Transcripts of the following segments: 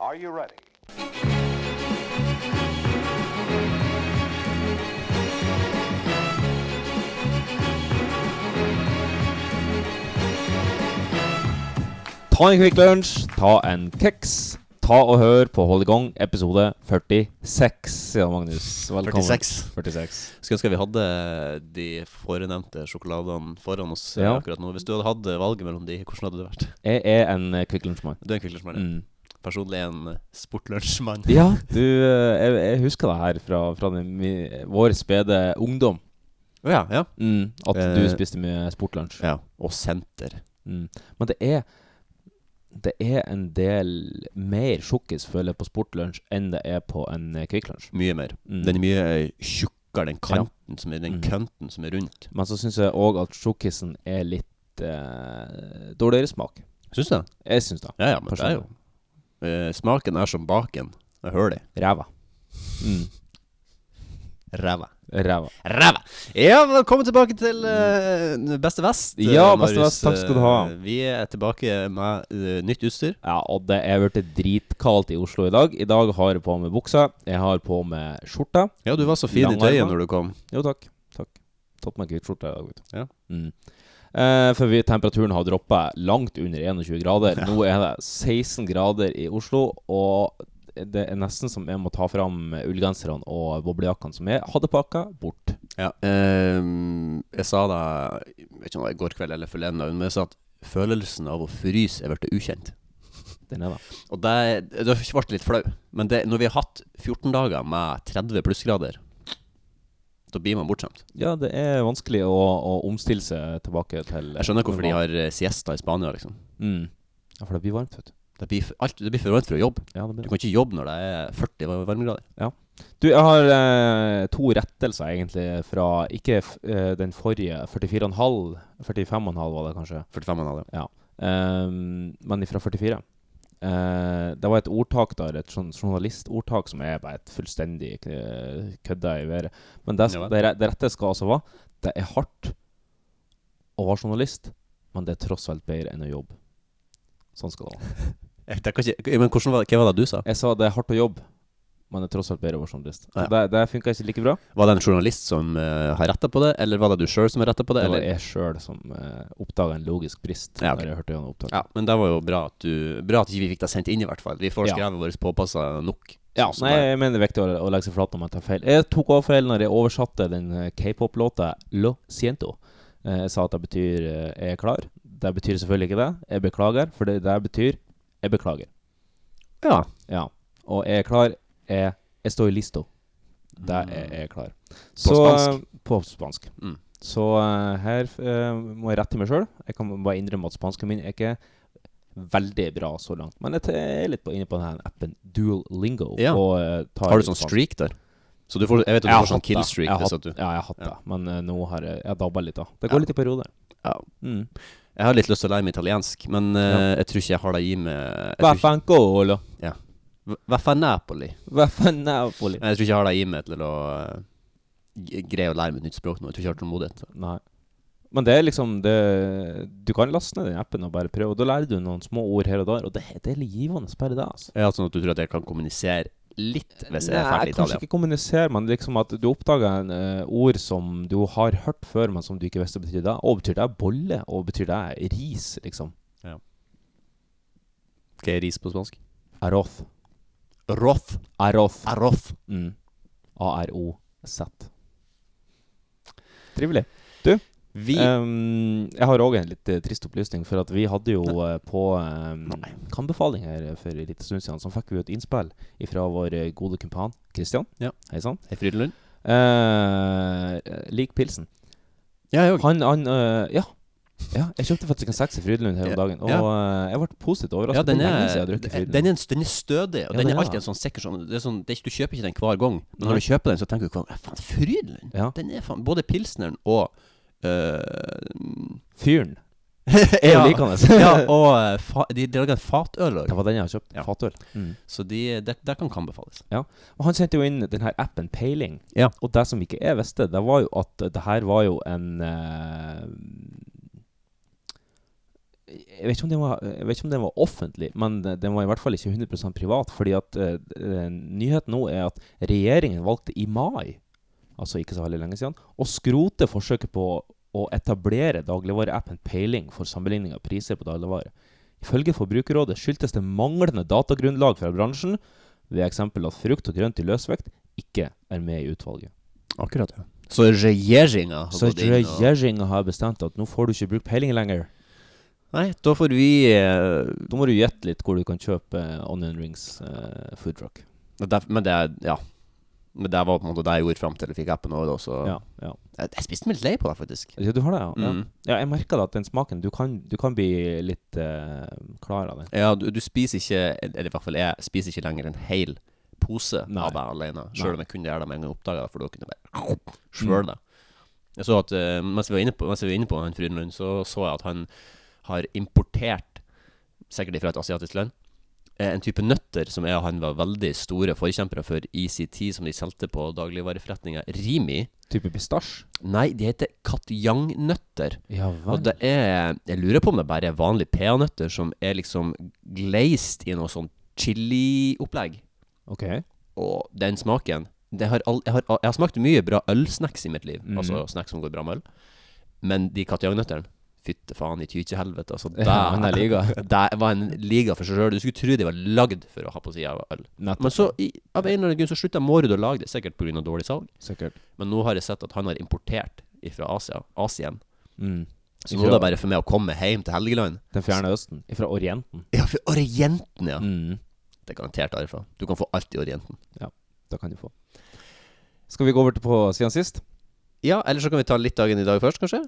Are you ready? Ta en Kvikk Lunsj, ta en keks. Ta og hør på Hold i gang, episode 46. Ja, Magnus. Velkommen. 46. 46. Skulle ønske vi hadde de forenevnte sjokoladene foran oss eh, Ja. akkurat nå. Hvis du hadde hatt eh, valget mellom de, hvordan hadde du vært? Jeg er en eh, Kvikk Lunsj-mann. Du er en Kvikk Lunsj-mann. ja. Mm. Personlig er jeg en eh, sportlunsjmann. Ja, du eh, Jeg, jeg husker det her fra, fra den, mi- vår spede ungdom. Å ja, ja. Mm, at du Eh. spiste mye sportlunsj. ja. Og senter. Mm. Men det er Det er en del mer sjokkis, føler jeg, på sportlunsj enn det er på en eh, Kvikk Lunsj. Mye mer. Mm. Den er mye eh, tjukkere, den Ja. kanten som er, den Mm. kønten som er rundt. Men så syns jeg òg at sjokkisen er litt eh, dårligere smak. Syns du det? Jeg syns det. Ja, ja, men det er jo eh, Smaken er som baken. Jeg hører det. Ræva. Mm. Ræva. Ræva. Ræva! Ja, velkommen tilbake til eh, Beste Vest. eh, Ja, Beste Vest, Marius. takk skal du ha. Eh, Vi er tilbake med eh, nytt utstyr. Ja, og det er blitt dritkaldt i Oslo i dag. I dag har jeg på meg buksa. Jeg har på meg skjorta. Ja, du var så fin i tøyet Langarma. når du kom. Jo, takk. Takk. Tatt meg hvit skjorte i dag, vet du. Ja. Mm. Eh, for vi, temperaturen har droppa langt under 21 grader. Nå er det 16 grader i Oslo, og det er nesten som jeg må ta fram ullgenserne og boblejakkene som jeg hadde pakka, bort. Ja. Ehm, jeg sa da Jeg vet ikke om det var i går kveld eller forleden, dag, men jeg sa at følelsen av å fryse er blitt ukjent. Den er det. Og det det har ikke vært litt flau, men det, når vi har hatt 14 dager med 30 plussgrader, da blir man bortskjemt. Ja, det er vanskelig å, å omstille seg tilbake til Jeg skjønner hvorfor de har eh, siesta i Spania, liksom. Mm. Ja, for det blir varmt, vet du. Det blir, for- alt, det blir for varmt for å jobbe. Ja, det Du blir det. kan ikke jobbe når det er 40 var- varmegrader. Du, jeg har eh, to rettelser, egentlig, fra ikke f eh, den forrige 44,5 45,5 var det kanskje. 45,5. ja. Ehm, men ifra 44. Eh, det var et ordtak der, et sånn journalistordtak som er bare et fullstendig eh, kødda i været. Men det, Ja vel. det, re- det rette skal altså være Det er hardt å være journalist, men det er tross alt bedre enn å jobbe. Sånn skal det være. Jeg tenker ikke, men hvordan var, det- hva var det du sa? Jeg sa det er hardt å jobbe, men det er tross alt bedre å være journalist. Så Ja. Det, det funka ikke like bra. Var det en journalist som eh, har retta på det, eller var det du sjøl som har retta på det? Det Eller? var jeg sjøl som uh, oppdaga en logisk brist. Ja, ok. Når jeg hørte gjennom opptak Ja, men det var jo bra at du Bra at ikke vi fikk deg sendt inn, i hvert fall. Vi får Ja. skrevet våre påpasser nok. Ja, Sånn som nei, det er. jeg mener det er viktig å, å legge seg flat når man tar feil. Jeg tok også feil når jeg oversatte den eh, k-pop-låta Lo Siento. Eh, Jeg sa at det betyr eh, 'jeg er klar'. Det betyr selvfølgelig ikke det. Jeg beklager, for det der betyr 'jeg beklager'. Ja. Ja. Og 'jeg er klar' er 'jeg står i listo'. Det er Mm. 'jeg er klar'. spansk. På spansk. Mm. Så eh, her eh, må jeg rette meg sjøl. Jeg kan bare innrømme at spansken min er ikke veldig bra så langt. Men jeg t- er litt på, inne på denne appen Duolingo. Ja. Og, eh, tar Har du sånn spansk. streak der? Så du får Jeg vet at Jeg du har får sånn hatt det. kill streak Jeg har hvis at hatt- du Ja, jeg har hatt det. Men eh, nå har jeg, jeg dabba litt av. Det går Ja. litt i perioder. Ja. Mm. Jeg har litt lyst til å lære meg italiensk, men eh, jeg tror ikke jeg har det i meg jeg tror ikke- Vaffancolo. V- Vaffa Napoli. Vaffanapoli. Jeg tror ikke jeg har det i meg til å eh, g- greie å lære meg et nytt språk nå. Jeg tror ikke jeg har tålmodighet. Nei. Men det er liksom det, Du kan laste ned den appen og bare prøve. Og da lærer du noen små ord her og der. Og det, det er litt givende, bare det. altså Ja, sånn at du tror at jeg kan kommunisere litt hvis jeg er Nei, ferdig i kanskje Italia. ikke kommunisere, men liksom at du oppdager en eh, ord som du har hørt før, men som du ikke visste betyr det. Og betyr det bolle? Og betyr det ris, liksom? Hva er ris på spansk? Aroth. Roth. Aroth. Aroth. Mm. A-R-O-Z. Trivelig. Du, Vi ehm, jeg har òg en litt eh, trist opplysning. For at vi hadde jo eh, på um, anbefaling her for en liten stund siden, så fikk vi jo et innspill fra vår eh, gode kumpan Kristian. Ja. Hei sann. Er Frydenlund? Eh, lik pilsen. Ja, jeg òg. Han, han eh, ja. ja. Jeg kjøpte faktisk en seks i Frydenlund her om Ja. dagen, og Ja. eh, jeg ble positivt overrasket. Ja, den Det lenge er, siden jeg har drukket den, Frydenlund. den, er, en- den er stødig, og Ja, den den er er alltid en sånn sikker sånn, det er sånn det, er ikke- Du kjøper ikke den hver gang, men Nei. når du kjøper den, så tenker du hva- "Ja, Faen, Frydlund! Ja. Den er faen Både pilsneren og øh, Fyren. Jeg liker han. ja, og øh, fa, de de lager en fatøl òg, Det var den jeg har kjøpt. Ja. Fatøl. Mm. så de- det det kan kan anbefales. Og han sendte jo inn den her appen Peiling. Ja. Og det som ikke jeg visste, det var jo at det her var jo en eh, jeg vet, ikke om den var, jeg vet ikke om den var offentlig, men eh, den var i hvert fall ikke 100 privat. fordi at eh, eh, Nyheten nå er at regjeringen valgte i mai, altså ikke så veldig lenge siden, å skrote forsøket på å etablere dagligvareappen Peiling for sammenligning av priser på dagligvarer. Ifølge Forbrukerrådet skyldtes det manglende datagrunnlag fra bransjen, ved eksempel at frukt og grønt i løsvekt ikke er med i utvalget. Akkurat, ja. Så regjeringa har Så gått inn og regjeringen har bestemt at nå får du ikke bruke peiling lenger. Nei, da får vi eh, Da må du gjette litt hvor du kan kjøpe eh, Onion Rings eh, food truck. det er- Men det er Ja. Men det var på en måte det jeg gjorde fram til jeg fikk appen over, da, så Ja, ja. jeg, jeg spiste meg litt lei på det, faktisk. ja, du har det, ja. ja. Mm. ja jeg merker da at den smaken Du kan, du kan bli litt eh, klar av den. Ja, du, du spiser ikke Eller i hvert fall jeg spiser ikke lenger en hel pose Nei. av det alene. Nei. Mm. Selv om jeg kunne gjøre det med en gang jeg oppdaga det, for da kunne jeg bare svøle det. Jeg så at eh, mens vi var inne på, mens vi var inne på han Frydenlund, så så jeg at han har importert, sikkert fra et asiatisk land, eh, en type nøtter som jeg og han var veldig store forkjempere for i sin tid, som de solgte på dagligvareforretninga Rimi. Type pistasje. Nei, de heter katjang-nøtter. Ja Og vel. det er Jeg lurer på om det bare er vanlige peanøtter som er liksom glazed i noe sånn chiliopplegg. Ok. Og den smaken det har all, jeg, har, jeg har smakt mye bra ølsnacks i mitt liv, Mhm. altså snacks som går bra med øl, men de kattejangnøttene Fytte faen i tykjehelvete, altså. Det, Ja, men det er liga. det var en liga for seg sjøl. Du skulle tro de var lagd for å ha på sida av øl. Nettopp. Men så, i, av en eller annen grunn, så slutta Mårud å lage det, sikkert pga. dårlig salg. Sikkert. Men nå har jeg sett at han har importert fra Asia, Asien. Mm. Så nå er det bare for meg å komme hjem til Helgeland Den fjerne østen. Fra Orienten. Ja, for Orienten, ja. Mm. Det er garantert derfra. Du kan få alt i Orienten. Da kan du få. Skal vi gå over til på siden sist? Ja, eller så kan vi ta litt dagen i dag først, kanskje?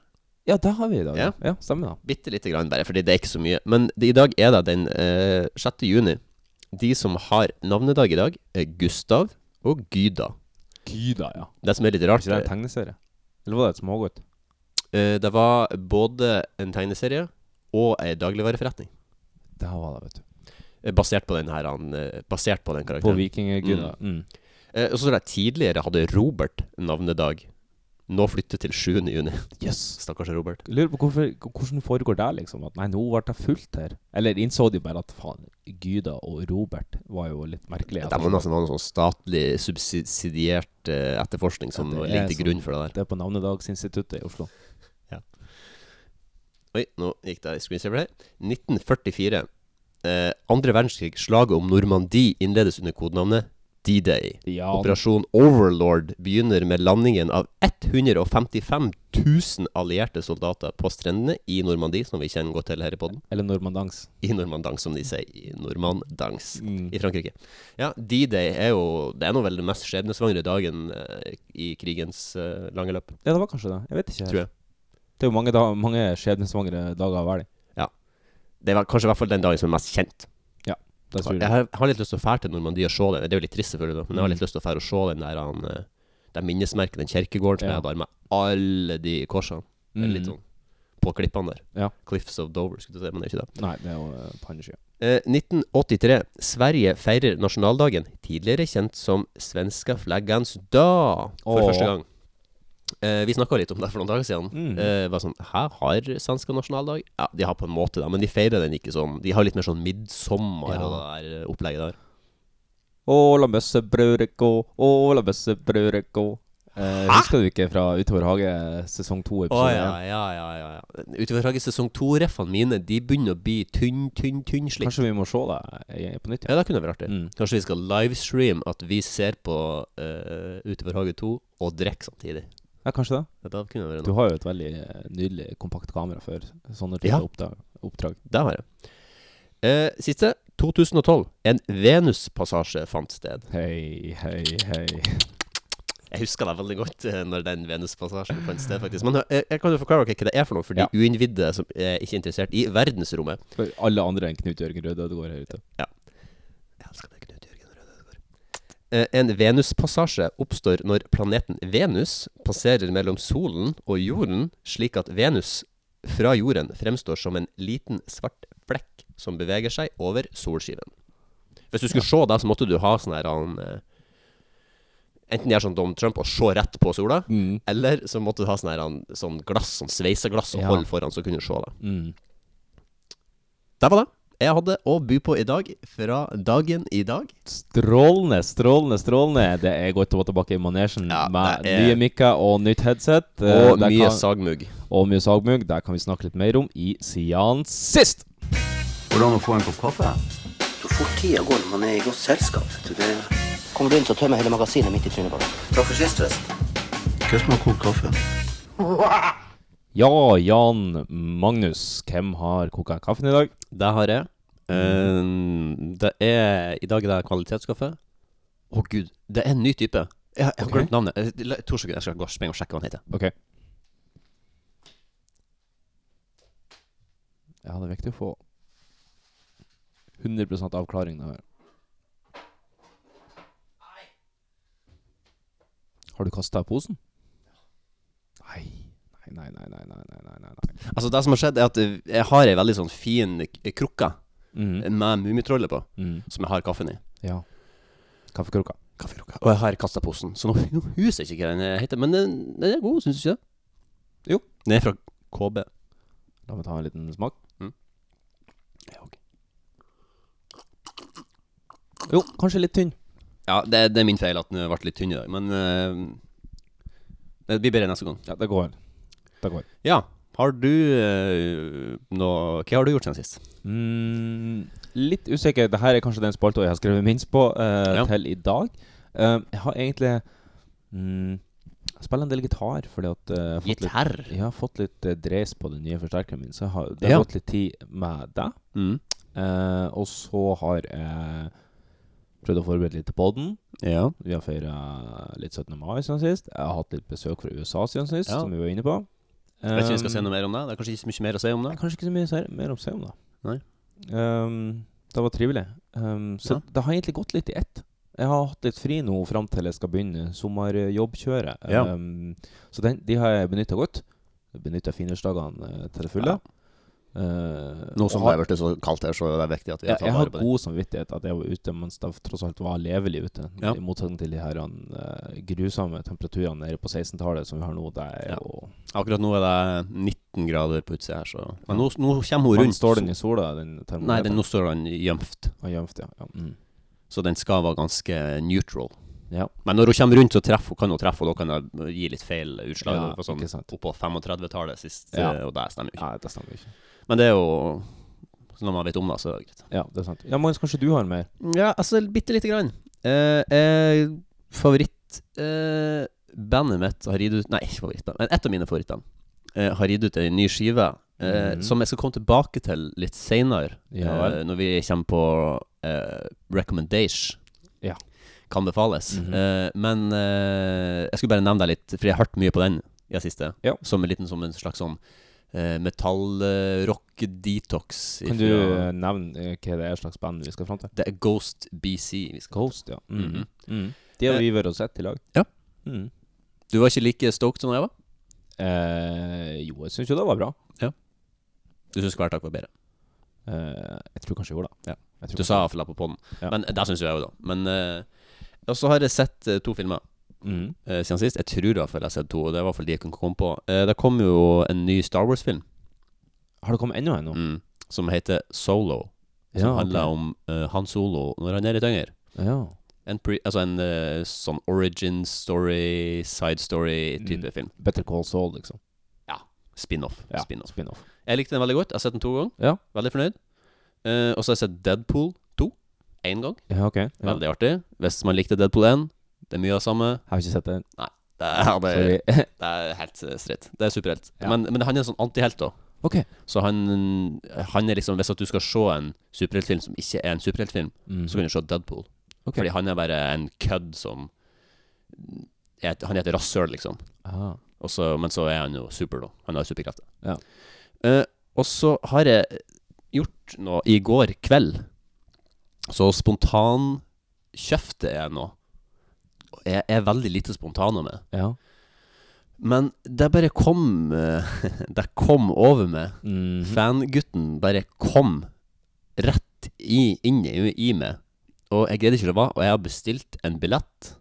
Ja, det har vi i dag. Ja. Ja, ja stemmer det. Bitte lite grann, bare, fordi det er ikke så mye. Men det, i dag er det den eh, 6. juni. De som har navnedag i dag, er Gustav og Gyda. Gyda, ja. Det som er litt Er rart, ikke det en tegneserie? Eller var det et smågodt? eh, det var både en tegneserie og ei dagligvareforretning. Det var det, vet du. eh, Basert på den her han, eh, Basert på den På karakteren. vikingguda. Mm. Eh, og så tror jeg tidligere hadde Robert navnedag. Nå flytter til 7. juni. Yes. Stakkars Robert. Lurer på hvorfor, hvordan foregår det, liksom? At nei, nå ble det fullt her. Eller innså de bare at faen, Gyda og Robert var jo litt merkelige. Det må nesten være noe sånn statlig subsidiert eh, etterforskning som Ja, det er ligger til sånn. grunn for det der. Det er på Navnedagsinstituttet i Oslo. Oi, nå gikk det i screensaver her. 1944. Eh, andre verdenskrig. Slaget om Normandie innledes under kodenavnet D-Day. Ja, Operasjon Overlord begynner med landingen av 155 000 allierte soldater på strendene i Normandie, som vi kjenner godt til her i podden. eller Normandans. I Normandang, som de sier. I Normandans. Mm. i Frankrike. Ja, D-Day er jo Det er nå vel den mest skjebnesvangre dagen eh, i krigens eh, lange løp, Ja, det var kanskje det. Jeg vet ikke. tror jeg. Det er jo mange, da, mange skjebnesvangre dager av verden. Det var kanskje i hvert fall den dagen som er mest kjent. Det tror Jeg jeg. har, jeg har litt lyst til å fære til Normandie og se den. Det er jo litt trist, selvfølgelig, da, men jeg har Mm. litt lyst til å fære og se den der han eh, Det minnesmerket, den kirkegården som Ja. er der med alle de korsene. Det er Litt Mm. sånn på klippene der. Ja. Cliffs of Dover, skulle du si, men det er ikke det. Nei, det er jo eh, panneskya. Eh, 1983. Sverige feirer nasjonaldagen, tidligere kjent som svenska flaggans dag, for Åh. første gang. Eh, vi snakka litt om det for noen dager siden. Mm. Eh, var sånn, Hæ, har svenska nasjonaldag? Ja, de har på en måte det, men de feirer den ikke som De har litt mer sånn midtsommer Ja. og det der eh, opplegget der. Åla bøsse brødre gå, åla bøsse brødre gå. Eh, husker du ikke fra Utover hage sesong to? Å episode ja, én? ja, ja. ja, ja. eh, Utover Hage sesong to-reffene mine, de begynner å bli tynn, tynn, tynn slik. Kanskje vi må se det eh, på nytt? Ja, det kunne vært artig. Mm. Kanskje vi skal livestream at vi ser på eh, Utover Hage 2 og drikker samtidig. ja, kanskje det. Det kunne vært noe. Du har jo et veldig eh, nydelig kompakt kamera for sånne typer Ja. oppdrag. oppdrag. Det har jeg. Eh, siste. 2012. En Venuspassasje fant sted. Hei, hei, hei. Jeg husker det veldig godt eh, når den Venuspassasjen fant sted, faktisk. Men eh, jeg, jeg kan jo forklare dere hva det er for noe, for Ja. de uinnvidde som er ikke interessert i verdensrommet. For alle andre enn Knut Jørgen Røde Ødegaard her ute. Jeg elsker deg, Knut Jørgen Røde Ødegaard. Eh, En Venuspassasje oppstår når planeten Venus passerer mellom solen og jorden, slik at Venus fra jorden fremstår som en liten svart flekk som beveger seg over solskiven. Hvis du skulle se det, så måtte du ha sånn her han, eh, Enten gjøre sånn Donald Trump og se rett på sola, Mm. eller så måtte du ha sånn, her, han, sånn glass, sånn sveiseglass og Ja. holde foran, så kunne du se det. Mm. Det var det jeg hadde å by på i dag, fra dagen i dag. Strålende, strålende, strålende. Det er godt å være tilbake i manesjen Ja, med det er- nye mikker og nytt headset. Eh, Og der mye kan, sagmugg. og mye sagmugg. Det kan vi snakke litt mer om i siden sist. Går det an å få en kopp kaffe? Så fort tida går når man er i godt selskap. vet du, Det... Kommer du inn, så tømmer jeg hele magasinet midt i trynet på deg. Takk for sist, forresten. Hva som har kokt kaffe? Ja, Jan Magnus, hvem har koka kaffen i dag? Det har jeg. Eh, det er I dag er det kvalitetskaffe. Å, gud. Det er en ny type. Jeg, jeg har Ok. glemt navnet. Eh, la- To sekunder, jeg skal gå og springe og sjekke hva den heter. Ok. Ja, det er viktig å få 100 avklaring der. Har du kasta posen? Nei. Nei, nei, nei, nei, nei, nei, nei, nei, nei. Altså, det som har skjedd, er at eh, jeg har ei veldig sånn fin k- krukke Mm. Mhm, med Mummitrollet på, mhm, som jeg har kaffen i. ja. Kaffekroka. Kaffekrukke. Og jeg har kasta posen, så nå, nå husker jeg ikke hva den heter. Men den, den er god, syns du ikke det? Jo. Den er fra KB. La meg ta en liten smak. Jo, kanskje litt tynn. Ja, det, det er min feil at den ble litt tynn i dag, men eh, det blir bedre neste gang. Ja, det går. Det går. Ja, har du eh, noe Hva har du gjort siden sist? Mm, litt usikker. Dette er kanskje den spalta jeg har skrevet minst på eh, Ja. til i dag. Eh, jeg har egentlig mm, Jeg spiller en del gitar fordi at eh, jeg har fått litt, Gitarr. jeg har fått litt eh, dres på den nye forsterkeren min, så jeg har, det har Ja. gått litt tid med det. Mm. Eh, og så har jeg prøvd å forberede litt til podden. Ja. Vi har feira litt 17. mai siden sist. Jeg har hatt litt besøk fra USA siden sist, Ja. som vi var inne på. Jeg vet ikke om vi skal Eh, si noe mer om det. Det er kanskje ikke så mye mer å si om det. det er kanskje ikke så mye ser- mer å si om det. Nei. Ehm, det var trivelig. Ehm, så Ja. det har egentlig gått litt i ett. Jeg har hatt litt fri nå fram til jeg skal begynne sommerjobbkjøret. Ja. Ehm, så den, de har jeg benytta godt. Benytta finværsdagene eh, til det fulle. Eh, Nå og som det har- er blitt så kaldt her, så det er viktig at vi jeg, tar jeg har vare på det. god samvittighet at jeg var ute mens det tross alt var levelig ute. Ja. I motsetning til de her eh, grusomme temperaturene nede på 16-tallet som vi har nå. Det er Ja. jo Akkurat nå er det 19 grader på utsida her, så Men nå, nå kommer hun Men rundt. Står den i sola, den termometeren? Nei, den, nå står den gjemt, Ah, jevnt, ja. ja. Mm. så den skal være ganske neutral. ja. Men når hun kommer rundt, så treffer, hun kan hun treffe, og da kan hun gi litt feil utslag. Ja, Det var sånn, ikke sant. Oppå 35-tallet sist, Ja. eh, og det stemmer jo ikke. Nei, det stemmer ikke. Men det er jo så Når man vet om det, så er det greit. Ja, det er sant. Ja, Magnus, kanskje du har mer? Ja, altså bitte lite grann. Eh, eh, favoritt eh, Bandet mitt har gitt ut Nei, ikke favorittband, men ett av mine favorittband eh, har gitt ut ei ny skive eh, Mhm. som jeg skal komme tilbake til litt seinere, Ja vel. når vi kommer på eh, recommendation. Ja. Kan befales. Mhm. Eh, men eh, jeg skulle bare nevne deg litt, for jeg har hørt mye på den i det siste. Ja. Som en liten som en slags sånn eh, metallrock-detox. Kan du eh, nevne eh, hva det er slags band vi skal fram til? Det er Ghost BC vi skal Ghost, ja. Mhm. Mhm. Eh, Mhm. De har vi vært og sett i lag. Ja. Mhm. Du var ikke like stoked som jeg var? Eh, jo, jeg syns jo det var bra. Du syns hver takk var bedre. Eh, jeg tror kanskje jeg gjorde det. Ja. Jeg tror Du kanskje- sa iallfall det på poden. Ja. Men det syns jo jeg jo, da. Men eh, Og så har jeg sett eh, to filmer Mhm. eh, siden sist. Jeg tror iallfall jeg har sett to, og det var iallfall de jeg kunne komme på. Eh, det kom jo en ny Star Wars-film Har det kommet enda en nå? mm, som heter Solo. Som Ja, ok. handler om eh, Han Solo når han er litt yngre. Ja. En pre, altså en eh, sånn origin story, side story-type film. Better Call Saul, liksom. Spin-off. Mm. Ja. Spin-off. Spin-off. Jeg likte den veldig godt. Jeg har sett den to ganger. Ja. Veldig fornøyd. Eh, og så har jeg sett Deadpool 2 én gang. Ja, ok. Ja. Veldig artig. Hvis man likte Deadpool 1, det er mye av det samme. Jeg har ikke sett den. Det er, det er, Sorry. det er helt eh, streit. Det er superhelt. Ja. Men, men han er en sånn antihelt, da. ok. Så han, han er liksom Hvis at du skal se en superheltfilm som ikke er en superheltfilm, Mhm. så kan du se Deadpool. Ok. Fordi han er bare en kødd som er et, Han er et rasshøl, liksom. Ah. Og så- men så er han jo super, da. Han har superkrefter. Ja. Eh, og så har jeg gjort noe i går kveld. Så spontan kjøpte jeg noe. Og Jeg er veldig lite spontan med. Ja. Men det bare kom eh, Det kom over meg. Mhm. Fangutten bare kom rett i, inn i, i meg. Og jeg greide ikke det var, og jeg har bestilt en billett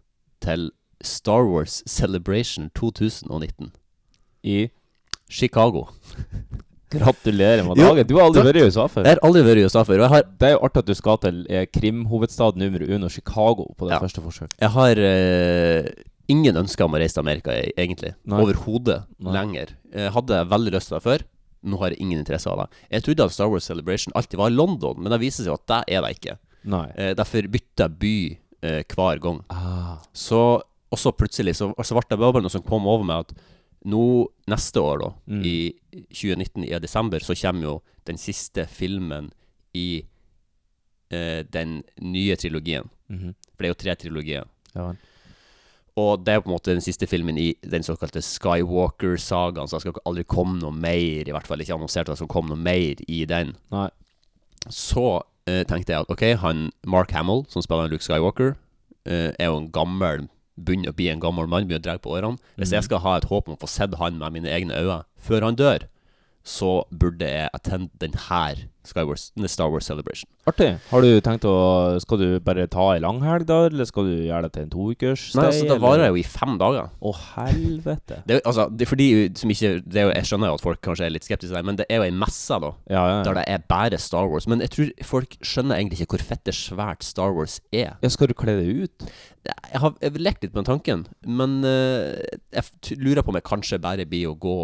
til Star Wars Celebration 2019. I Chicago. Gratulerer med Jo, dagen. Du har aldri takk. vært i USA før. Jeg har aldri vært i USA før, og jeg har, Det er jo artig at du skal til eh, krimhovedstad nummer uno, Chicago, på det Ja. første forsøk. jeg har eh, ingen ønsker om å reise til Amerika, e- egentlig. Nei. Overhodet. Nei. Lenger. Jeg hadde jeg veldig lyst til det før. Nå har jeg ingen interesse av det. Jeg trodde at Star Wars Celebration alltid var i London, men det viser seg at det er det ikke. Nei. Eh, derfor bytter jeg by eh, hver gang. Ah, Så, og så plutselig så, så ble det bare noe som kom over meg at nå neste år, da, Mm. i 2019 i desember, så kommer jo den siste filmen i eh, den nye trilogien. mhm. For det er jo tre trilogier. Ja vel. Og det er på en måte den siste filmen i den såkalte Skywalker-sagaen, så det skal aldri komme noe mer, i hvert fall ikke annonsert at det skal komme noe mer i den. Nei. Så eh, tenkte jeg at ok, han Mark Hamill, som spiller Luke Skywalker, eh, er jo en gammel Begynner å bli en gammel mann, begynner å dra på årene. Hvis jeg skal ha et håp om å få sett han med mine egne øyne før han dør, så burde jeg attende den her Skywars, nei, Star Wars Celebration. Artig. Har du tenkt å Skal du bare ta ei langhelg, da? Eller skal du gjøre det til en toukers Nei, altså, det varer jo i fem dager. Å, helvete. Det, er jo- altså, det er fordi som ikke, det er jo, Jeg skjønner jo at folk kanskje er litt skeptiske, til det, men det er jo ei messe, da. Ja, ja. Der ja. det er bare Star Wars. Men jeg tror folk skjønner egentlig ikke hvor fette svært Star Wars er. ja skal du kle deg ut? Jeg har jeg har lekt litt med den tanken, men eh, jeg f- t- lurer på om jeg kanskje bare blir å gå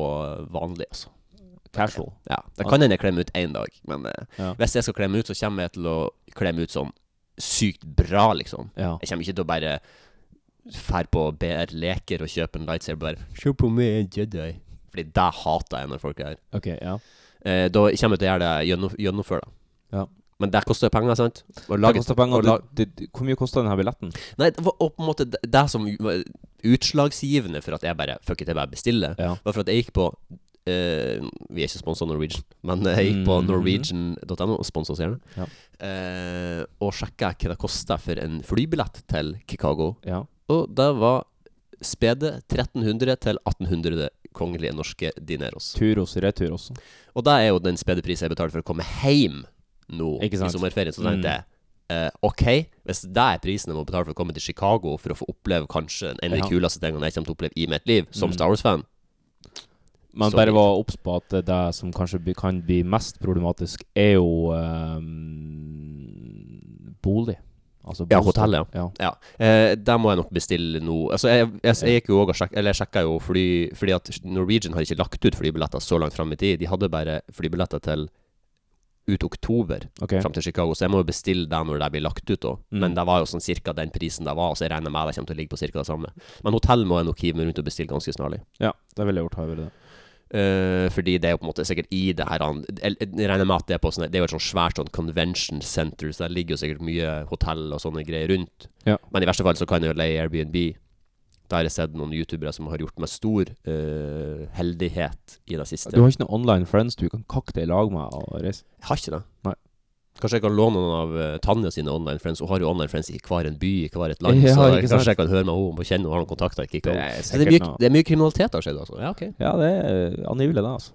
vanlig, altså. Casual. Ja, Det kan hende jeg kler meg ut én dag, men eh, Ja. hvis jeg skal kle meg ut, så kommer jeg til å kle meg ut sånn sykt bra, liksom. Ja. Jeg kommer ikke til å bare fær på BR Leker og kjøpe en lightsaber bare Se på meg, jeg er Jedi. Fordi det hater jeg når folk er her. Ok, ja. Eh, da kommer jeg til å gjøre det gjennom, gjennomføre det. Ja. Men det koster penger, sant? Å Det lage- koster penger. å la- Du, du, hvor mye kosta denne billetten? Nei, det var og på en måte det, det som var utslagsgivende for at jeg bare Fuck it, jeg bare bestiller, Ja. var for at jeg gikk på eh, Vi er ikke sponsa av Norwegian, men jeg gikk på Mhm. norwegian.no, spons oss gjerne, Ja. eh, og sjekka hva det kosta for en flybillett til Chicago. Ja. Og det var spede 1300 til 1800 kongelige norske dineros. Tur og retur også. Og det er jo den spede prisen jeg betaler for å komme hjem nå i Ikke sant? sommerferien. Så Mm. tenkte jeg eh, OK, hvis det er prisen jeg må betale for å komme til Chicago for å få oppleve kanskje en av Ja. de Mm. kuleste tingene jeg kommer til å oppleve i mitt liv, som Star Wars-fan Men Så bare vidt. var obs på at det- det som kanskje bli- kan bli mest problematisk, er jo ehm, bolig. Altså Ja, bostad. hotellet, ja. Ja, eh, der må jeg nok bestille nå. Altså, jeg, jeg, jeg gikk jo også og sjekka Eller jeg sjekka jo fly Fordi at Norwegian har ikke lagt ut flybilletter så langt fram i tid. De hadde bare flybilletter til ut oktober Ok. Mm. fram til Chicago, så jeg må jo bestille det når det blir lagt ut. da Men det var jo sånn cirka den prisen det var, så jeg regner med det kommer til å ligge på cirka det samme. Men hotell må jeg nok hive meg rundt og bestille ganske snarlig. Ja, det ville jeg gjort. har jeg vært det. Eh, fordi det er jo på en måte sikkert i det her an- el- Jeg regner med at det er på sånne Det er jo et sånn svært sånn convention center, så der ligger jo sikkert mye hotell og sånne greier rundt. Ja. Men i verste fall så kan jeg jo leie Airbnb. Da har jeg sett noen youtubere som har gjort meg stor eh, heldighet i det siste. Du har ikke noen online friends du kan kakke deg i lag med og reise? Jeg har ikke det. Nei. Kanskje jeg kan låne noen av eh, Tanja sine online friends. Hun har jo online friends i hver en by, i hver et land. Ja, så ikke kanskje sant? jeg kan høre med henne om hun kjenner og har noen kontakter. Ikke Det kan. er Så det, sikkert er mye, noe. det er mye kriminalitet har skjedd, altså. Ja, ok. Ja, det er eh, angivelig, det, altså.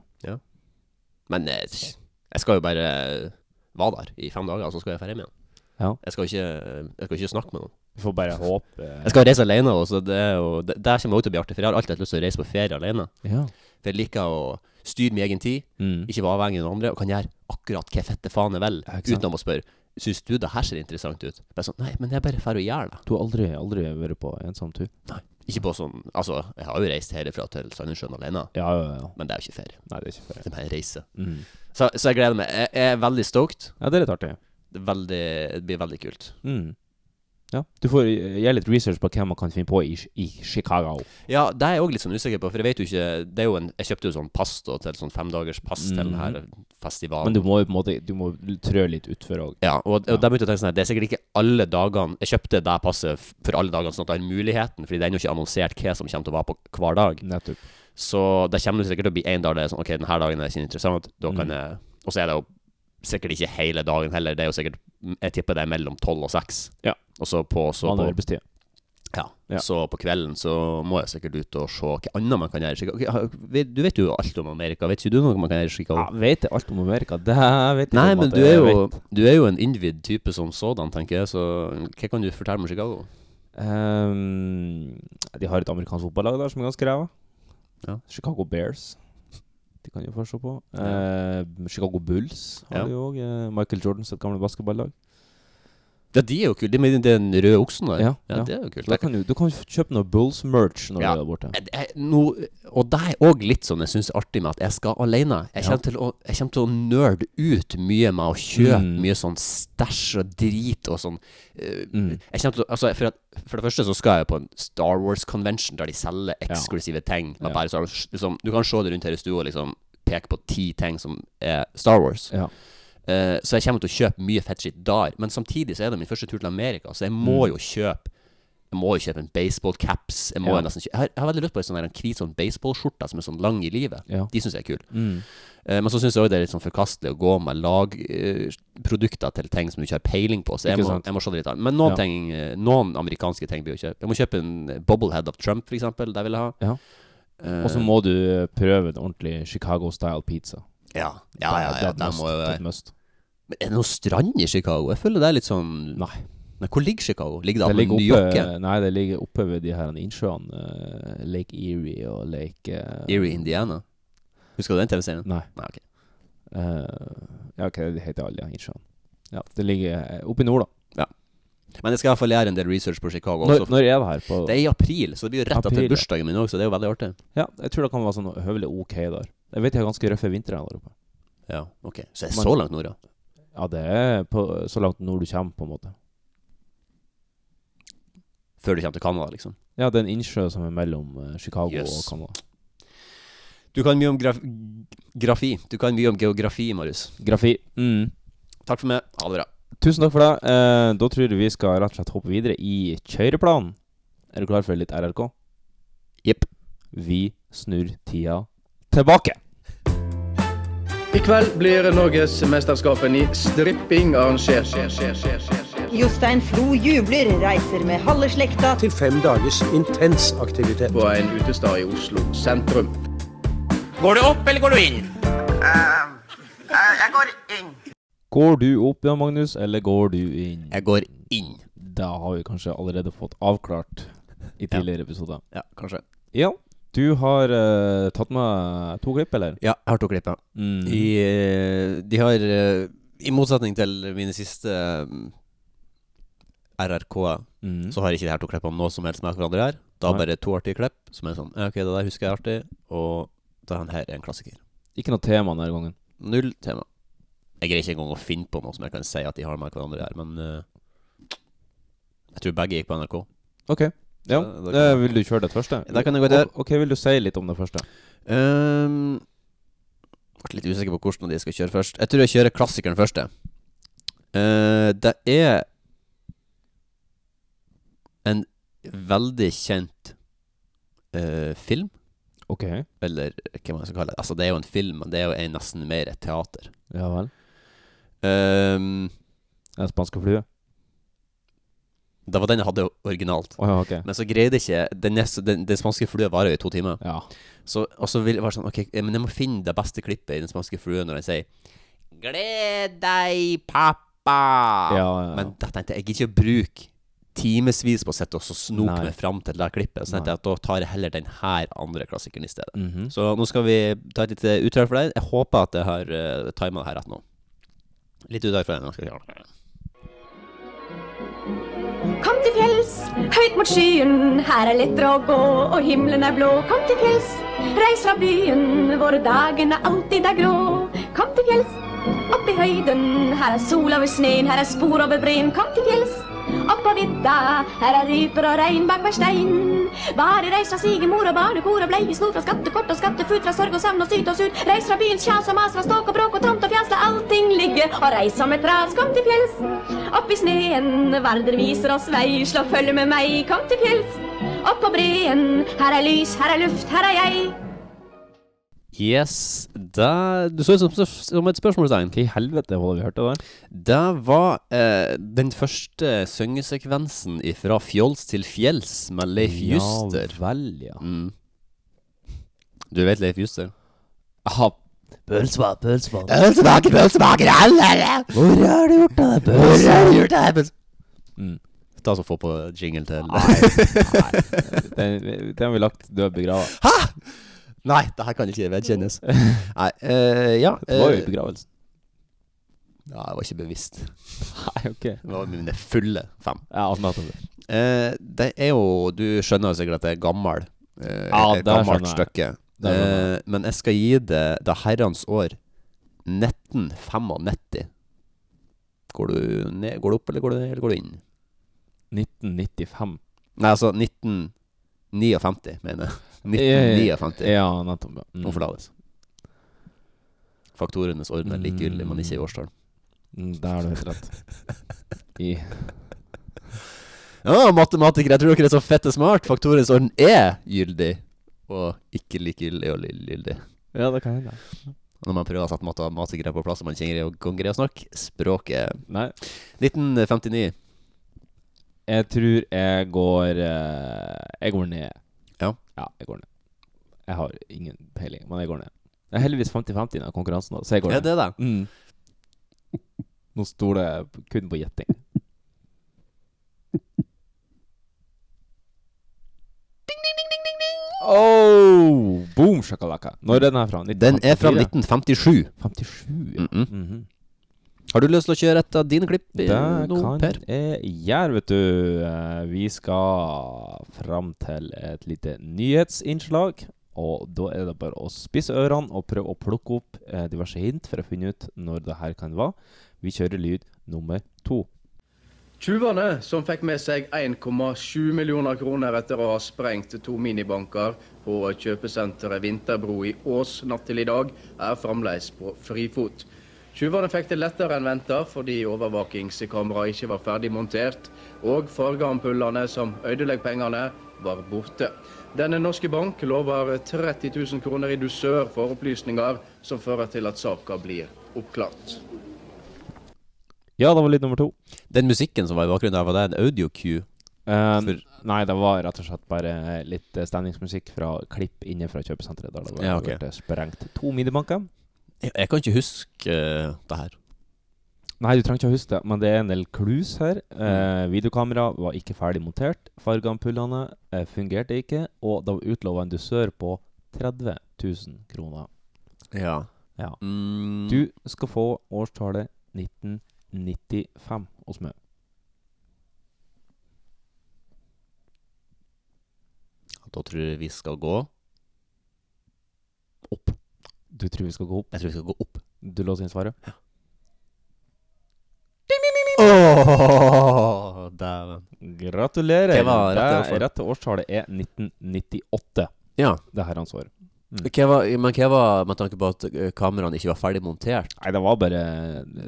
Men eh, jeg skal jo bare eh, være der i fem dager, så skal jeg dra hjem igjen. Ja. Jeg, skal ikke, eh, jeg skal ikke snakke med noen. Vi får bare håpe eh, Jeg skal reise alene, og så det, er jo- det, det kommer også til å bli artig. For jeg har alltid hatt lyst til å reise på ferie alene. Ja. For jeg liker å styre min egen tid, Mm. ikke være avhengig av noen andre, og kan gjøre akkurat hva fette faen jeg vil, Ja, ikke sant. uten om å spørre. Syns du det her ser interessant ut? Bare sånn, Nei, men jeg bare drar og gjør det. Du har aldri, aldri vært på ensom tur? Ikke på sånn Altså, jeg har jo reist herfra til Sandnessjøen alene, Ja, ja, ja. men det er jo ikke ferie. Nei, det er ikke ferie. Det er bare en reise. Mm. Så, så jeg gleder meg. Jeg, jeg er veldig stoked. Ja, det er litt artig. Det, er veldig, det blir veldig kult. Mm. Ja. Du får eh, gjøre litt research på hvem man kan finne på i, Chi- i Chicago. Ja, det er jeg òg litt sånn usikker på, for jeg vet jo ikke det er jo en, Jeg kjøpte jo sånn pass da, til sånn femdagers pass til den her Mm. festivalen. Men du må jo på en måte Du må trø litt utfor òg. ja, og, og Ja. da begynte jeg å tenke sånn her, det er sikkert ikke alle dagene Jeg kjøpte det passet f- for alle dagene, sånn at jeg har muligheten, fordi det er ennå ikke annonsert hva som kommer til å være på hver dag. Nettopp. Så det kommer jo sikkert til å bli en dag der det er sånn Ok, denne dagen er ikke interessant, da kan Mm. jeg Og så er det jo sikkert ikke hele dagen heller, det er jo sikkert Jeg tipper det er mellom tolv og seks. Ja. Og så på, så Han på er arbeidstid. Ja. Ja. Så på kvelden så må jeg sikkert ut og se hva annet man kan gjøre. i Chicago. Ok, har- vet- Du vet jo alt om Amerika, vet ikke du noe man kan gjøre i Chicago? Ja, vet jeg alt om Amerika? Det vet jeg ikke Nei, om men at du er, jeg jo, vet. du er jo en innvidd type som sådan, tenker jeg, så hva kan du fortelle om Chicago? Ehm, De har et amerikansk fotballag der som er ganske ræva. Ja. Chicago Bears. De kan jo få se på. Eh, Chicago Bulls har Ja. de òg. Eh, Michael Jordan sitt gamle basketballag. Ja, de er jo kule. De med den røde oksen der. Ja, ja, ja. det er jo kult. Da kan du, du kan kjøpe noe Bulls-merch når Ja. du er borte. Jeg- jeg- nå- og det er òg litt sånn jeg syns er artig med at jeg skal alene. Jeg kommer, Ja. til, å, jeg kommer til å nerde ut mye med å kjøpe Mm. mye sånn stæsj og drit og sånn. Eh, Mm. Jeg kommer til å, altså for, at, for det første så skal jeg på en Star Wars-convention der de selger eksklusive ting. Med Ja. bare Star Wars. Liksom, du kan se det rundt her i stua og liksom, peke på ti ting som er Star Wars. Ja. Eh, så jeg kommer til å kjøpe mye fettskitt der. Men samtidig så er det min første tur til Amerika, så jeg Mm. må jo kjøpe jeg må jo kjøpe en baseball-caps. Jeg må Ja. jo nesten kjø- jeg har, jeg har veldig lyst på en sånn der, en hvit sånn baseballskjorte som er sånn lang i livet. Ja. De syns jeg er kule. Mm. Eh, men så syns jeg òg det er litt sånn forkastelig å gå med lagprodukter til ting som du ikke har peiling på. Så jeg Ikke må, sant. jeg må se det litt an. Men noen, Ja. ting, eh, noen amerikanske ting blir å kjøpe. Jeg må kjøpe en eh, bobblehead of Trump, for eksempel. Det vil jeg ha. Ja. Eh, Og så må du prøve en ordentlig Chicago-style pizza. Eh, ja, ja, ja, Det ja, er et det must. må jo det er være. et must. Men er det noe strand i Chicago? Jeg føler det er litt sånn Nei. Nei, Hvor ligger Chicago? Ligger det, Det det ligger, New York? oppe, nei, det ligger oppe ved de her innsjøene. eh, Lake Erie og Lake eh, Erie, Indiana? Husker du den TV-serien? Nei. Nei, ok. eh, ja, ok, de heter alle de innsjøene. Ja, det ligger eh, oppe i nord, da. Men jeg skal i hvert fall gjøre en del research på Chicago Når, også. når er det her? På, Det er i april, så det blir jo rett April, etter ja. bursdagen min òg, så det er jo veldig artig. ja, jeg tror det kan være sånn høvelig OK der. Jeg vet de har ganske røffe vintre der oppe. Ja, ok Så jeg er Men- så langt nord, ja. Ja, det er på, så langt nord du kommer, på en måte. Før du kommer til Canada, liksom. Ja, det er en innsjø som er mellom eh, Chicago Yes. og Canada. Du kan mye om graf grafi. Du kan mye om geografi, Marius. Grafi. Mm. Takk for meg. Ha det bra. Tusen takk for det. Eh, da tror jeg vi skal rett og slett hoppe videre i kjøreplanen. Er du klar for litt RRK? Jepp. Vi snur tida tilbake. I kveld blir Norgesmesterskapen i stripping arrangert. Jostein Flo jubler, reiser med halve slekta til fem dagers intens aktivitet. På en utestad i Oslo sentrum. Går du opp, Jan Magnus, eller går du inn? Jeg går inn. Da har vi kanskje allerede fått avklart i tidligere episoder. Ja, kanskje. Ja, du har eh, tatt med to klipp, eller? Ja, jeg har to klipp, ja. Mm. I, eh, de har eh, I motsetning til mine siste um, RRK-er, Mm. Så har ikke de her to klippene noe som helst med hverandre her. Da Nei. bare to artige klipp som er sånn «Ja, Ok, det der husker jeg er artig, og den her er en klassiker. Ikke noe tema denne gangen. Null tema. Jeg greier ikke engang å finne på noe som jeg kan si at de har med hverandre her, men eh, Jeg tror begge gikk på NRK. OK. Ja, da kan- eh, Vil du kjøre det første? Da kan jeg gå til. Ok, ok, vil du si litt om det første? Um, ble litt usikker på hvordan de skal kjøre først. Jeg tror jeg kjører klassikeren først, jeg. Eh, det er en veldig kjent eh, film. OK. Eller hva man skal kalle det. Altså, det er jo en film, men det er jo en nesten mer et teater. Ja vel. Ehm, Den spanske flue? det var den jeg hadde originalt. Å ja, OK. Men så greide jeg ikke Den, neste, den, den spanske flua varer jo i to timer. Ja. Så, og så vil, var det sånn Ok, eh, men jeg må finne det beste klippet i den spanske flua når den sier Gled deg, pappa! Ja, ja, ja. Men da tenkte jeg jeg gidder ikke å bruke timevis på å sitte og så snoke Nei. meg fram til det klippet. Så tenkte jeg at da tar jeg heller den her andre klassikeren i stedet. Mhm. Så nå skal vi ta et lite utdrag for deg. Jeg håper at jeg har uh, tima det her rett nå. Litt utdrag for deg. nå skal vi gjøre det. Kom til fjells, høyt mot skyen, her er lettere å gå, og himmelen er blå. Kom til fjells, reis fra byen, våre dagene alltid er grå. Kom til fjells, opp i høyden, her er sol over sneen, her er spor over breen. Kom til fjells, opp på vidda, her er ryper og rein bak hver stein. Bare reis fra svigermor og barnekor og bleieskor, fra skattekort og skattefut, fra sorg og savn og syt og sut. Reis fra byens kjas og mas, fra ståk og bråk og tomt og fjas, la allting ligge, og reis som et ras. Kom til fjells, opp i sneen, Vardø viser oss vei, slå følge med meg, kom til fjells. Opp på breen, her er lys, her er luft, her er jeg. Yes. Da, du så ut som, som et spørsmålstegn. Hva i helvete var det vi hørte der? Det var eh, den første syngesekvensen fra Fjols til fjells med Leif Juster. Ja vel, ja. Mm. Du vet Leif Juster? Aha. Pølsebad, pølsebad. Pølsemaker, pølsemaker, Hvor har du gjort av deg pølse? Hvor har du gjort av deg pølse? Mm. Ta så Få på jingle til Nei, nei. Den, den har vi lagt død begrava. Nei, det her kan ikke vedkjennes. Nei, eh, ja. Det var jo i eh, begravelsen. ja, jeg var ikke bevisst. Nei, ok. Det var mine fulle fem. Ja, nettopp. Eh, det er jo Du skjønner jo sikkert at det er gammel, eh, Ja, et det skjønner gammelt jeg. stykke. Det skjønner Eh, men jeg skal gi det det herrens år 1995. Går du ned, går du opp, eller går du, ned, eller går du inn? 1995. Nei, altså 1959, mener jeg. 1959 Ja, nettopp. ja. Mm. må forlates. Faktorenes orden er likegyldig, men ikke i årstall. Mm, Der har du helt rett. I Ja, matematikere, jeg tror dere er så fette smart. Faktorens orden er gyldig, og ikke likegyldig og gyldig. Ja, det kan hende. Når man prøver å sette matematikere på plass og man ikke greier å kan greie å snakke språket Nei, 1959. jeg tror jeg går eh, Jeg går ned. Ja. Ja, jeg går ned. Jeg har ingen peiling, men jeg går ned. Det er heldigvis 50-50 i den konkurransen, da, så jeg går Er ned. det det? Mm. Nå stoler jeg p- kun på gjetting. Oh, boom shakalaka. Når er den her fra? Den er fra 1954? 1957. 57, ja. Mhm. Mhm. Har du lyst til å kjøre et av dine klipp eh, Det nå, Per? kan jeg gjøre, vet du. Eh, Vi skal fram til et lite nyhetsinnslag. Og da er det bare å spisse ørene og prøve å plukke opp eh, diverse hint for å finne ut når det her kan være. Vi kjører lyd nummer to. Tjuvene, som fikk med seg 1,7 millioner kroner etter å ha sprengt to minibanker på kjøpesenteret Vinterbro i Ås natt til i dag, er fremdeles på frifot. Tjuvene fikk det lettere enn venta fordi overvåkingskameraet ikke var ferdig montert, og fargeampullene som ødelegger pengene, var borte. Denne norske bank lover 30 000 kroner i dusør for opplysninger som fører til at saka blir oppklart. Ja, det var lyd nummer to. Den musikken som var i bakgrunnen der, var det en audio cue? Eh, For- nei, det var rett og slett bare litt eh, stemningsmusikk fra klipp inne fra kjøpesenteret. Der det var Ja, ok. vært, eh, sprengt to minibanker. Jeg, jeg kan ikke huske eh, det her. Nei, du trenger ikke å huske det, men det er en del clues her. Eh, videokamera var ikke ferdig montert. Fargeampullene eh, fungerte ikke, og det var utlova en dusør på 30 000 kroner. Ja. Ja. Mm. Du skal få årstallet 1995 hos meg. Da tror jeg vi skal gå opp. Du tror vi skal gå opp? Jeg tror vi skal gå opp. Du låser inn svaret? Åh, Dæven. Gratulerer! Det var Det rett årsvar. rette årstallet er 1998. Ja. Det her ansvar. Hva var, men hva var med tanke på at eh, kameraene ikke var ferdig montert? Nei, det var bare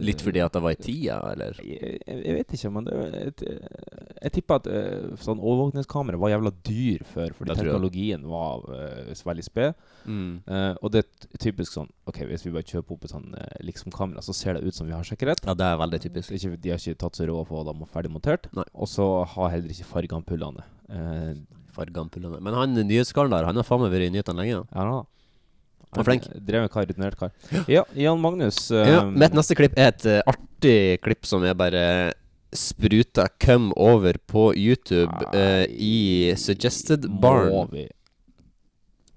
Litt fordi at det var i tida, eller? jeg, jeg jeg vet ikke, men det, er et, eh, jeg tipper at eh, sånn overvåkningskamera var jævla dyr før, fordi Det tror jeg. teknologien var eh, veldig sped. Eh, og det er t- typisk sånn Ok, hvis vi bare kjøper opp et sånn eh, liksom-kamera, så ser det ut som vi har sikkerhet. Ja, det er veldig typisk. Ikke, de har ikke tatt seg råd for å ha dem ferdig montert. Nei. Og så har heller ikke fargeampullene eh, Fargeampullene. Men han nyhetskaren der, han har faen meg vært i nyhetene lenge. da. Ja, da. Han er flink. Eh, Drevet kar, rutinert kar. Ja, Jan Magnus. eh, Ja, mitt neste klipp er et eh, artig klipp som jeg bare spruta cum over på YouTube eh, i Suggested Må Barn. vi,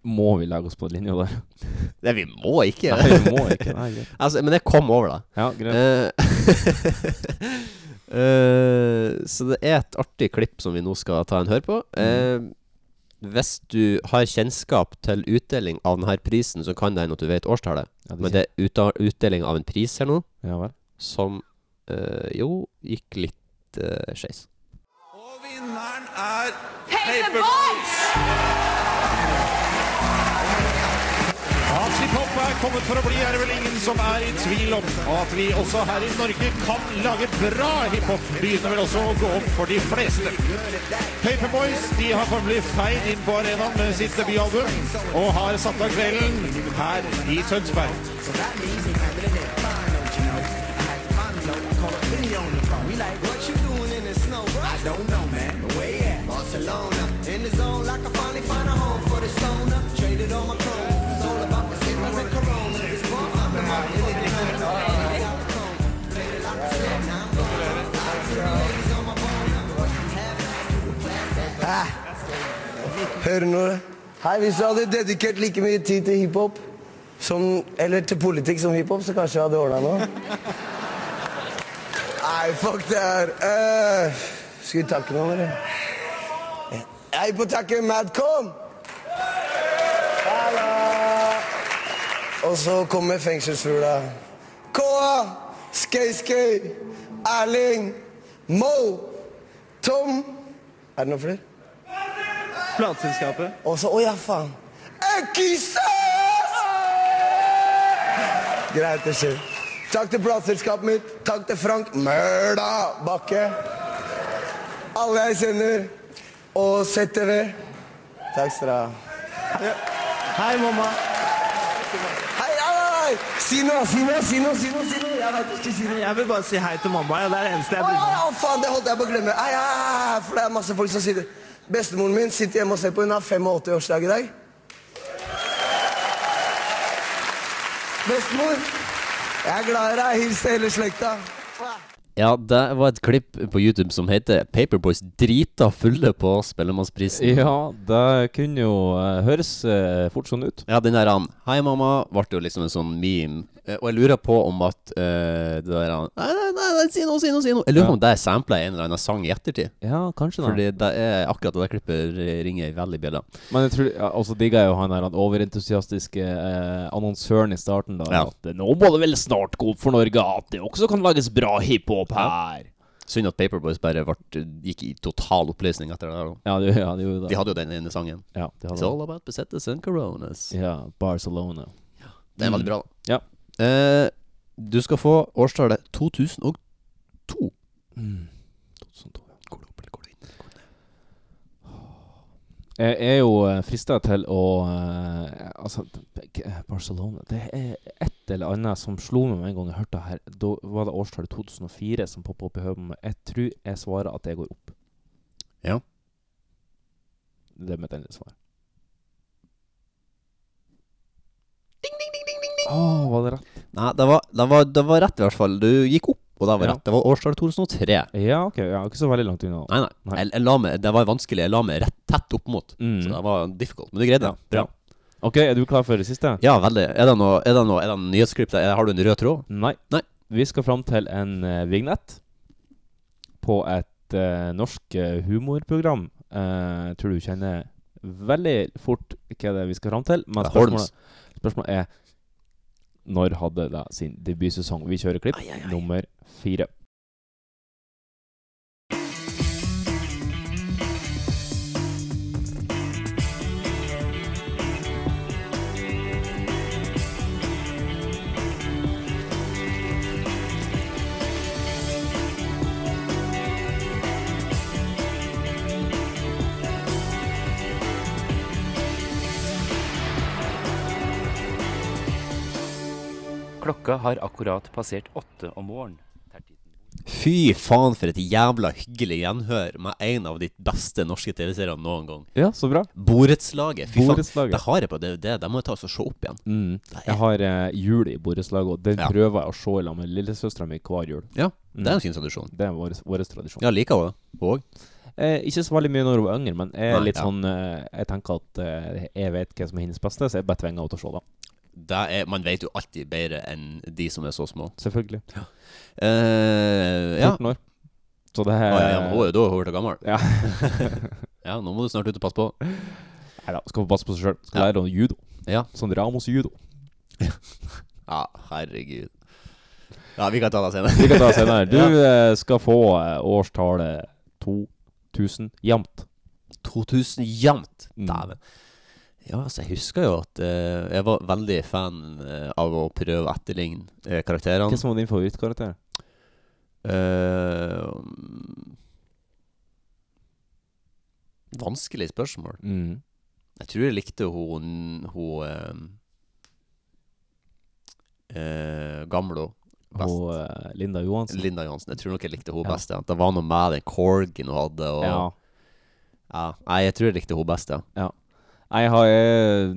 må vi legge oss på linja der? Nei, vi må ikke. Nei, vi må ikke. Nei, greit. altså, men jeg kom over det. Ja, greit. Eh, eh, så det er et artig klipp som vi nå skal ta en hør på. Eh, hvis du har kjennskap til utdeling av denne prisen, så kan det hende at du vet årstallet. Ja, det Men det er uta- utdeling av en pris her nå Ja vel. som eh, jo gikk litt uh, skeis. Og vinneren er Atli Pop er kommet for å bli, er det vel ingen som er i tvil om. At vi også her i Norge kan lage bra hiphop, begynner vel også å gå opp for de fleste. Paperboys de har formelig feid inn på arenaen med sitt debutalbum, og har satt av kvelden her i Tønsberg. Hører nå det? Hei, hvis du hadde dedikert like mye tid til hiphop som Eller til politikk som hiphop, så kanskje jeg hadde ordna noe. Nei, fuck det her. Uh, skal vi takke noen, eller? Jeg er på å takke Madcon! Hallo! Og så kommer fengselsfugla. K.A. Skøy-Skøy. Erling. Mo. Tom. Er det noen flere? Plateselskapet. Og så Å ja, faen. Ekkisøs! Greit, det skjer. Takk til plateselskapet mitt. Takk til Frank Møla Bakke. Alle jeg kjenner. Og ZTV. Takk skal dere ha. Hei, mamma. Hei, hei, hei! Si noe, si noe, si noe! si noe, si noe. Jeg vet ikke, si noe. Jeg vil bare si hei til mamma. Ja. Det er det eneste jeg bryr meg om. faen, det holdt jeg på å glemme. Hei, hei, hei, hei, for det er masse folk som sier det. Bestemoren min sitter hjemme og ser på. Hun har 85-årsdag i dag. Bestemor, jeg er glad i deg. Hils til hele slekta. Ja, det var et klipp på YouTube som heter 'Paperboys drita fulle på Spellemannsprisen'. Ja, det kunne jo eh, høres eh, fort sånn ut. Ja, den der han 'Hei, mamma' ble jo liksom en sånn meme. Eh, Og jeg lurer på om at eh, det der han Nei, nei, nei, nei, si noe, si noe, si noe. Jeg lurer på om det er sampla en eller annen sang i ettertid. Ja, kanskje det. Fordi det er akkurat det der klippet ringer veldig bjella. Men jeg tror ja, også digga jo han der han overentusiastiske eh, annonsøren i starten, da. Ja. At eh, nå må det vel snart gå opp for Norge at det også kan lages bra hiphop her. Synd at Paperboys bare vart- eh, gikk i total oppløsning etter det der. da. Ja, det, ja, det gjorde det. De hadde jo den ene sangen. Ja, de hadde It's det. all about besettes and coronas. Ja, Barcelona. Det er veldig bra, da. Ja. Eh, du skal få årstallet 2002. Jeg er jo frista til å eh, Altså, t- k- Barcelona Det er et eller annet som slo meg med en gang jeg hørte det her. Da var det årstallet 2004 som poppa opp i hodet på meg. Jeg tror jeg svarer at det går opp. Ja. Det er mitt endelige svar. Å, var det rett? Nei, det var, det, var, det var rett i hvert fall. Du gikk opp, og det var Ja. rett. Det var årstallet 2003. Ja, ok. Ja, ikke så veldig langt unna. Nei, nei. Mm. Jeg, jeg la meg, det var vanskelig. Jeg la meg rett tett opp mot. Så det var difficult. Men du greide det. Bra. Mm. Ok, er du klar for det siste? Ja, veldig. Er det noe, er det noe, er det noe nyhetsklipp der? Har du en rød tråd? Nei. Vi skal fram til en eh, vignett på et eh, norsk eh, humorprogram. Eh, tror du kjenner veldig fort hva det er vi skal fram til. Men Det er Holmes. spørsmålet, spørsmålet er når hadde det sin debutsesong? Vi kjører klipp nummer fire. Klokka har akkurat passert åtte om morgenen. Fy faen, for et jævla hyggelig gjenhør med en av de beste norske TV-seriene noen gang. Ja, så bra. Borettslaget. Fy Borettslaget. faen, det har jeg på DVD. Det må jeg ta og se opp igjen. Mm. Jeg har eh, jul i borettslaget, og den prøver jeg å se i lag med lillesøstera mi hver jul. Ja, det er en fin tradisjon. Det er vår, vår tradisjon. Ja, liker hun det. Hun òg. Eh, ikke så veldig mye når hun var yngre, men jeg er Nei, litt ja. sånn eh, Jeg tenker at eh, jeg vet hva som er hennes beste, så jeg bare tvinger henne til å se det. det er, man vet jo alltid bedre enn de som er så små. Selvfølgelig. Ja. Eh, ja. 14 år. Så det Å, her ja, ja, men hun er jo da hun ble gammel. Ja. ja, nå må du snart ut og passe på. Nei da, skal få passe på seg sjøl. Skal lære henne judo. Ja. Sånn Ramos-judo. Ja, herregud. Ja, vi kan ta det senere. Vi kan ta det senere. Du ja. eh, skal få eh, årstallet 2000 jevnt. 2000 jevnt. Dæven. Ja, altså, jeg husker jo at eh, jeg var veldig fan eh, av å prøve å etterligne eh, karakterene. Hva som var din favorittkarakter? Eh, vanskelig spørsmål. Mm. Jeg tror jeg likte hun, hun eh, eh, Gamlo best. Hun eh, Linda Johansen. Linda Johansen. Jeg tror nok jeg likte hun Ja. best. Ja. Det var noe med den corgen hun hadde. Og, Ja. Ja, Nei, jeg tror jeg likte hun best, ja. Ja. Nei, Jeg har Jeg,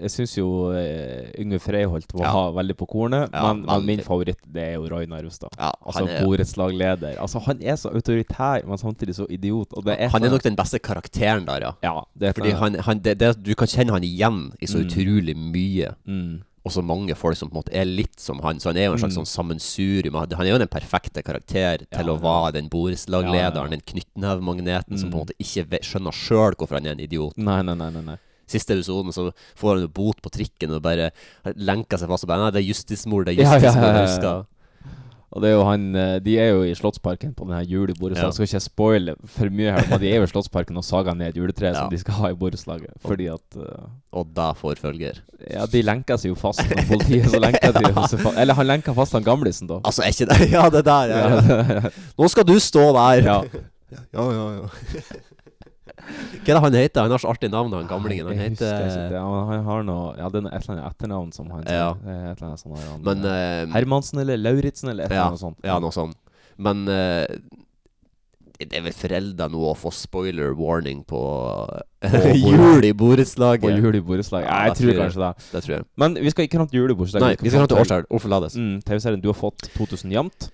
jeg syns jo eh, Yngve Freiholt var Ja. veldig på kornet, Ja, men, veldig. men min favoritt det er jo Roy Narvestad. altså han er- borettslagleder. Altså, han er så autoritær, men samtidig så idiot. Og det er Han er sånn- nok den beste karakteren der, ja. det sånn tror Fordi jeg. han, han, det, det, du kan kjenne han igjen i så Mm. utrolig mye. Mm. Og så mange folk som på en måte er litt som han. Så han er jo en slags Mm. sånn sammensurium. Han han er jo den perfekte karakter til å være den Ja, Mm. ja, ja. borettslaglederen, den knyttnevemagneten som på en måte ikke ve- skjønner sjøl hvorfor han er en idiot. Nei, nei, nei, nei, nei. Siste episoden så får han jo bot på trikken og bare lenker seg fast og bare Nei, det er justismord, det er Ja, ja, justismord, ja, ja, ja. jeg husker. Og det er jo han eh, De er jo i Slottsparken på denne juleborettslaget. Ja. Skal ikke spoile for mye her, men de er jo i Slottsparken og sager ned juletreet som de skal ha i borettslaget. Fordi at eh, Og da får følger. Ja, de lenker seg jo fast når politiet så lenker de seg fast. Eller han lenker fast han gamlisen, da. Altså, er ikke det Ja, det der, ja. ja. Nå skal du stå der! Ja. ja, ja. ja. Hva er det han heter? Han har så artig navn, han gamlingen. Han Jeg husker ikke heter det. Han, han har noe Ja, det er noe- et eller annet etternavn som han Ja. Det er Et eller annet sånn her, han, Men, eh, eh, Hermansen eller Lauritzen eller et eller ja, annet sånt. ja, noe sånt. Men eh, det er vel forelda nå å få spoiler warning på, på jul i borettslaget? På jul i borettslaget. Ja, jeg tror kanskje det. Det tror jeg. Men vi skal ikke fram til julebordsdag. Nei, vi skal fram til årsdag. Hvorfor lades? Mm, TV-serien du har fått 2000 jevnt.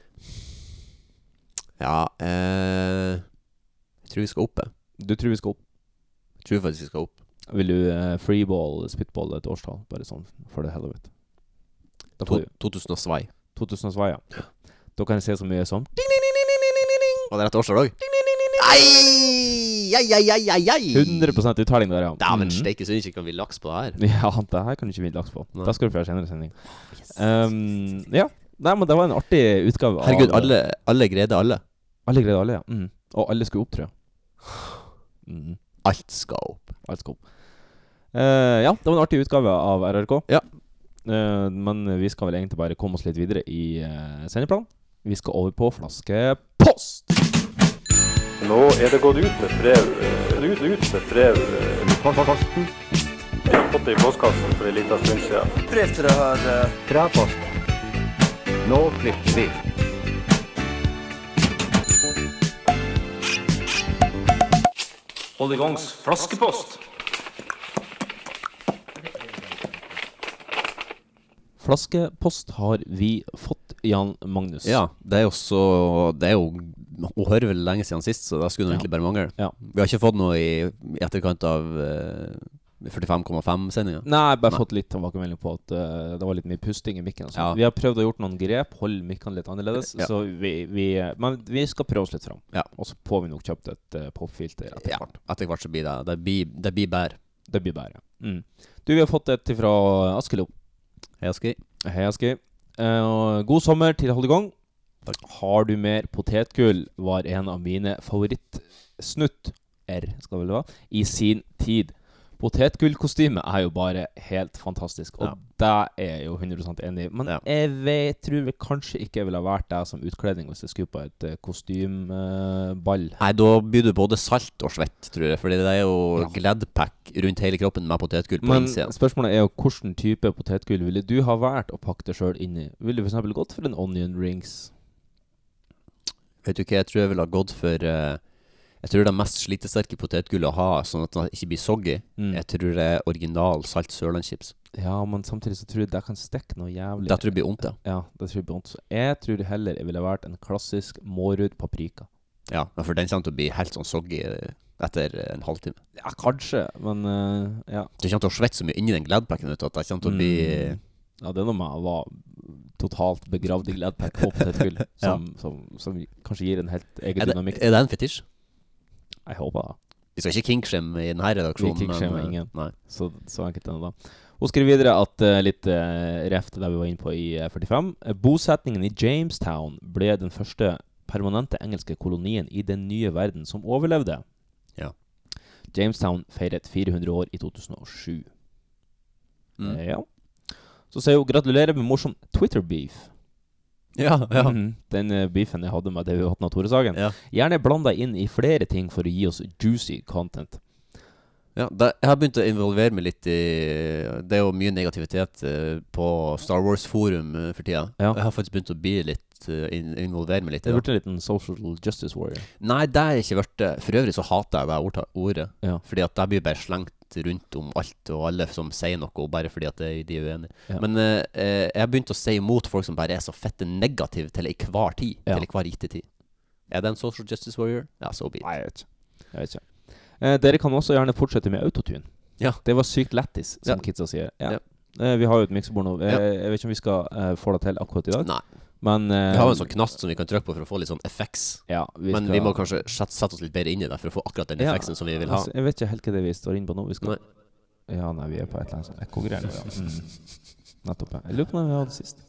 Ja eh, Jeg tror vi skal opp, jeg. Du tror vi skal opp? Jeg tror faktisk vi skal opp. Vil du eh, freeball, spitball et årstall? Bare sånn for the hell of it. Da To- får vi- 2002. 2002, ja. Da kan jeg se så mye som Var det rett årsdag òg? Nei! Ai, ai, ai, ai, ai! 100 uttelling der, ja. Dæven Mhm. steike, så ikke kan vi laks på det her. Ja, det her kan du ikke vinne laks på. Nei. Da skal du få en senere sending. Um, ja. Nei, men det var en artig utgave. av- Herregud, alle, alle greide alle. Alle greide alle, ja. Mhm. Og alle skulle opp, tror jeg. Mhm. Alt skal opp. Alt skal opp. Eh, ja, det var en artig utgave av RRK. Ja. Eh, men vi skal vel egentlig bare komme oss litt videre i uh, sendeplanen. Vi skal over på flaskepost. Nå er det gått ut et brev. eh, Ut, ut et brev. Postkassen. Jeg har fått det i postkassen for en liten stund siden. Brev til det her eh, Nå klipper vi. Hold i gangs flaskepost. Flaskepost har vi fått, Jan Magnus. Ja, det er jo så Det er jo Hun hører vel lenge siden sist, så da skulle det egentlig bare mangle. Vi har ikke fått noe i, i etterkant av eh, 45,5-sendinga. Nei, bare fått litt tilbakemelding på at eh, det var litt mye pusting i mikken. og sånt. Ja. Vi har prøvd å gjort noen grep, holde mikken litt annerledes. Ja. Så vi, vi, men vi skal prøve oss litt fram. Ja. Og så får vi nok kjøpt et eh, popfilter etter Ja, hvert. etter hvert så blir det Det blir, det blir bær. Det blir bedre. Mm. Du, vi har fått et fra Askelo. Hei, Askøy. Hei, Askøy. Eh, og god sommer til Holdegong. Har du mer potetgull? var en av mine favorittsnutt R, skal det vel være, i sin tid. Potetgullkostyme er jo bare helt fantastisk, og det er jeg jo 100 enig i. Men jeg vet, tror vel kanskje ikke jeg ville ha vært deg som utkledning hvis jeg skulle på et eh, kostymeball. Nei, da blir du både salt og svett, tror jeg. Fordi det er jo Gladpack rundt hele kroppen med potetgull på Men innsida. spørsmålet er jo hvilken type potetgull ville du ha valgt å pakke deg sjøl inn i? Ville du f.eks. gått for en onion rings? Vet du hva, jeg tror jeg ville ha gått for eh, Jeg tror det mest slitesterke potetgullet å ha, sånn at det ikke blir soggy. Mm. Jeg tror det er original salt sørlandschips. Ja, men samtidig så tror jeg det kan stikke noe jævlig. Det tror jeg blir vondt, ja. Ja, det tror jeg blir vondt. Så jeg tror heller jeg ville ha valgt en klassisk Mårud paprika. Ja, men for den kommer til å bli helt sånn soggy eh, etter eh, en halvtime. Ja, kanskje, men eh, ja. Du kommer til å svette så mye inni den Gladpacken vet du, at det kommer til å bli Mm. Ja, det er noe med å være totalt begravd i gledpack og potetgull, som, som, som kanskje gir en helt egen er det, dynamikk. er det en fetisj? Jeg håper det. Vi skal ikke kinkshame i denne redaksjonen. Vi kinkshame men, eh, ingen. Nei. Så, så enkelt er det da. Hun skriver videre at eh, litt uh, ref til det vi var inne på i eh, 45. eh, Bosetningen i Jamestown ble den første permanente engelske kolonien i den nye verden som overlevde. Ja. Jamestown feiret 400 år i 2007. Mm. Eh, ja. Så sier hun gratulerer med morsom Twitter-beef. Ja, ja. Mhm. Den eh, beefen jeg hadde med det vi hadde med Tore Sagen. Gjerne bland deg inn i flere ting for å gi oss juicy content. Ja, da, jeg har begynt å involvere meg litt i Det er jo mye negativitet eh, på Star Wars-forum eh, for tida. Ja. Jeg har faktisk begynt å bli litt eh, in involvere meg litt Det er i det. blitt en liten social justice warrior. Nei, det er ikke vært det. For øvrig så hater jeg det ordta- ordet. Ja. Fordi at det blir bare slengt rundt om alt og alle som sier noe, bare fordi at det- de er uenige. Ja. Men eh, eh, jeg har begynt å si imot folk som bare er så fette negative til enhver tid. Ja. Til enhver gitte tid. Er det en social justice warrior? Ja, so be it. Nei, jeg vet ikke. Jeg vet ikke. Eh, dere kan også gjerne fortsette med autotune. Ja. Det var sykt lættis, som kidsa sier. Ja. Eh, vi har jo et miksebord nå. Eh, Ja. Jeg vet ikke om vi skal eh, få det til akkurat i dag. Nei. Men eh, Vi har jo en sånn knast som vi kan trykke på for å få litt sånn effects. Ja, vi Men skal- vi må kanskje sette, sette oss litt bedre inn i det for å få akkurat den Ja, effekten som vi vil ha. altså, Jeg vet ikke helt hva det er vi står inne på nå. Vi skal... Ja, nei, vi er på et eller annet sånt ekkogreier nå, ja. Mm. Nettopp. ja. Jeg lurer på den vi hadde sist.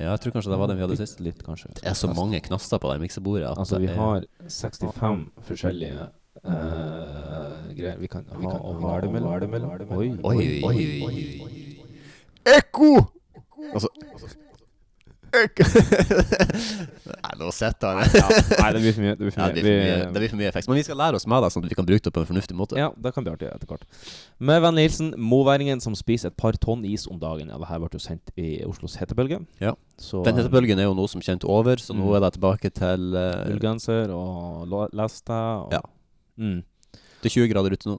Ja, jeg tror kanskje det var den vi hadde Bitte sist. Litt, kanskje. Det er så mange knaster på det miksebordet at Altså, vi det er- har 65 forskjellige eh, greier. Vi kan ha og hva er det mellom? Oi, Oi, oi, oi, Ekko! Altså Nei, nå setter han Ja, nei, det blir for mye, det blir for Ja, mye. det blir for Vi- mye, det blir for mye effekt. Men vi skal lære oss med det, sånn at vi kan bruke det på en fornuftig måte. Ja, det kan bli artig etter hvert. Med vennlig hilsen moværingen som spiser et par tonn is om dagen. Ja, det her ble jo sendt i Oslos hetebølge. Ja. Så, Den hetebølgen er jo nå som kjent over, så nå Mm. er det tilbake til eh, Ullgenser og la- leste og Ja. Mm. Det er 20 grader ute nå.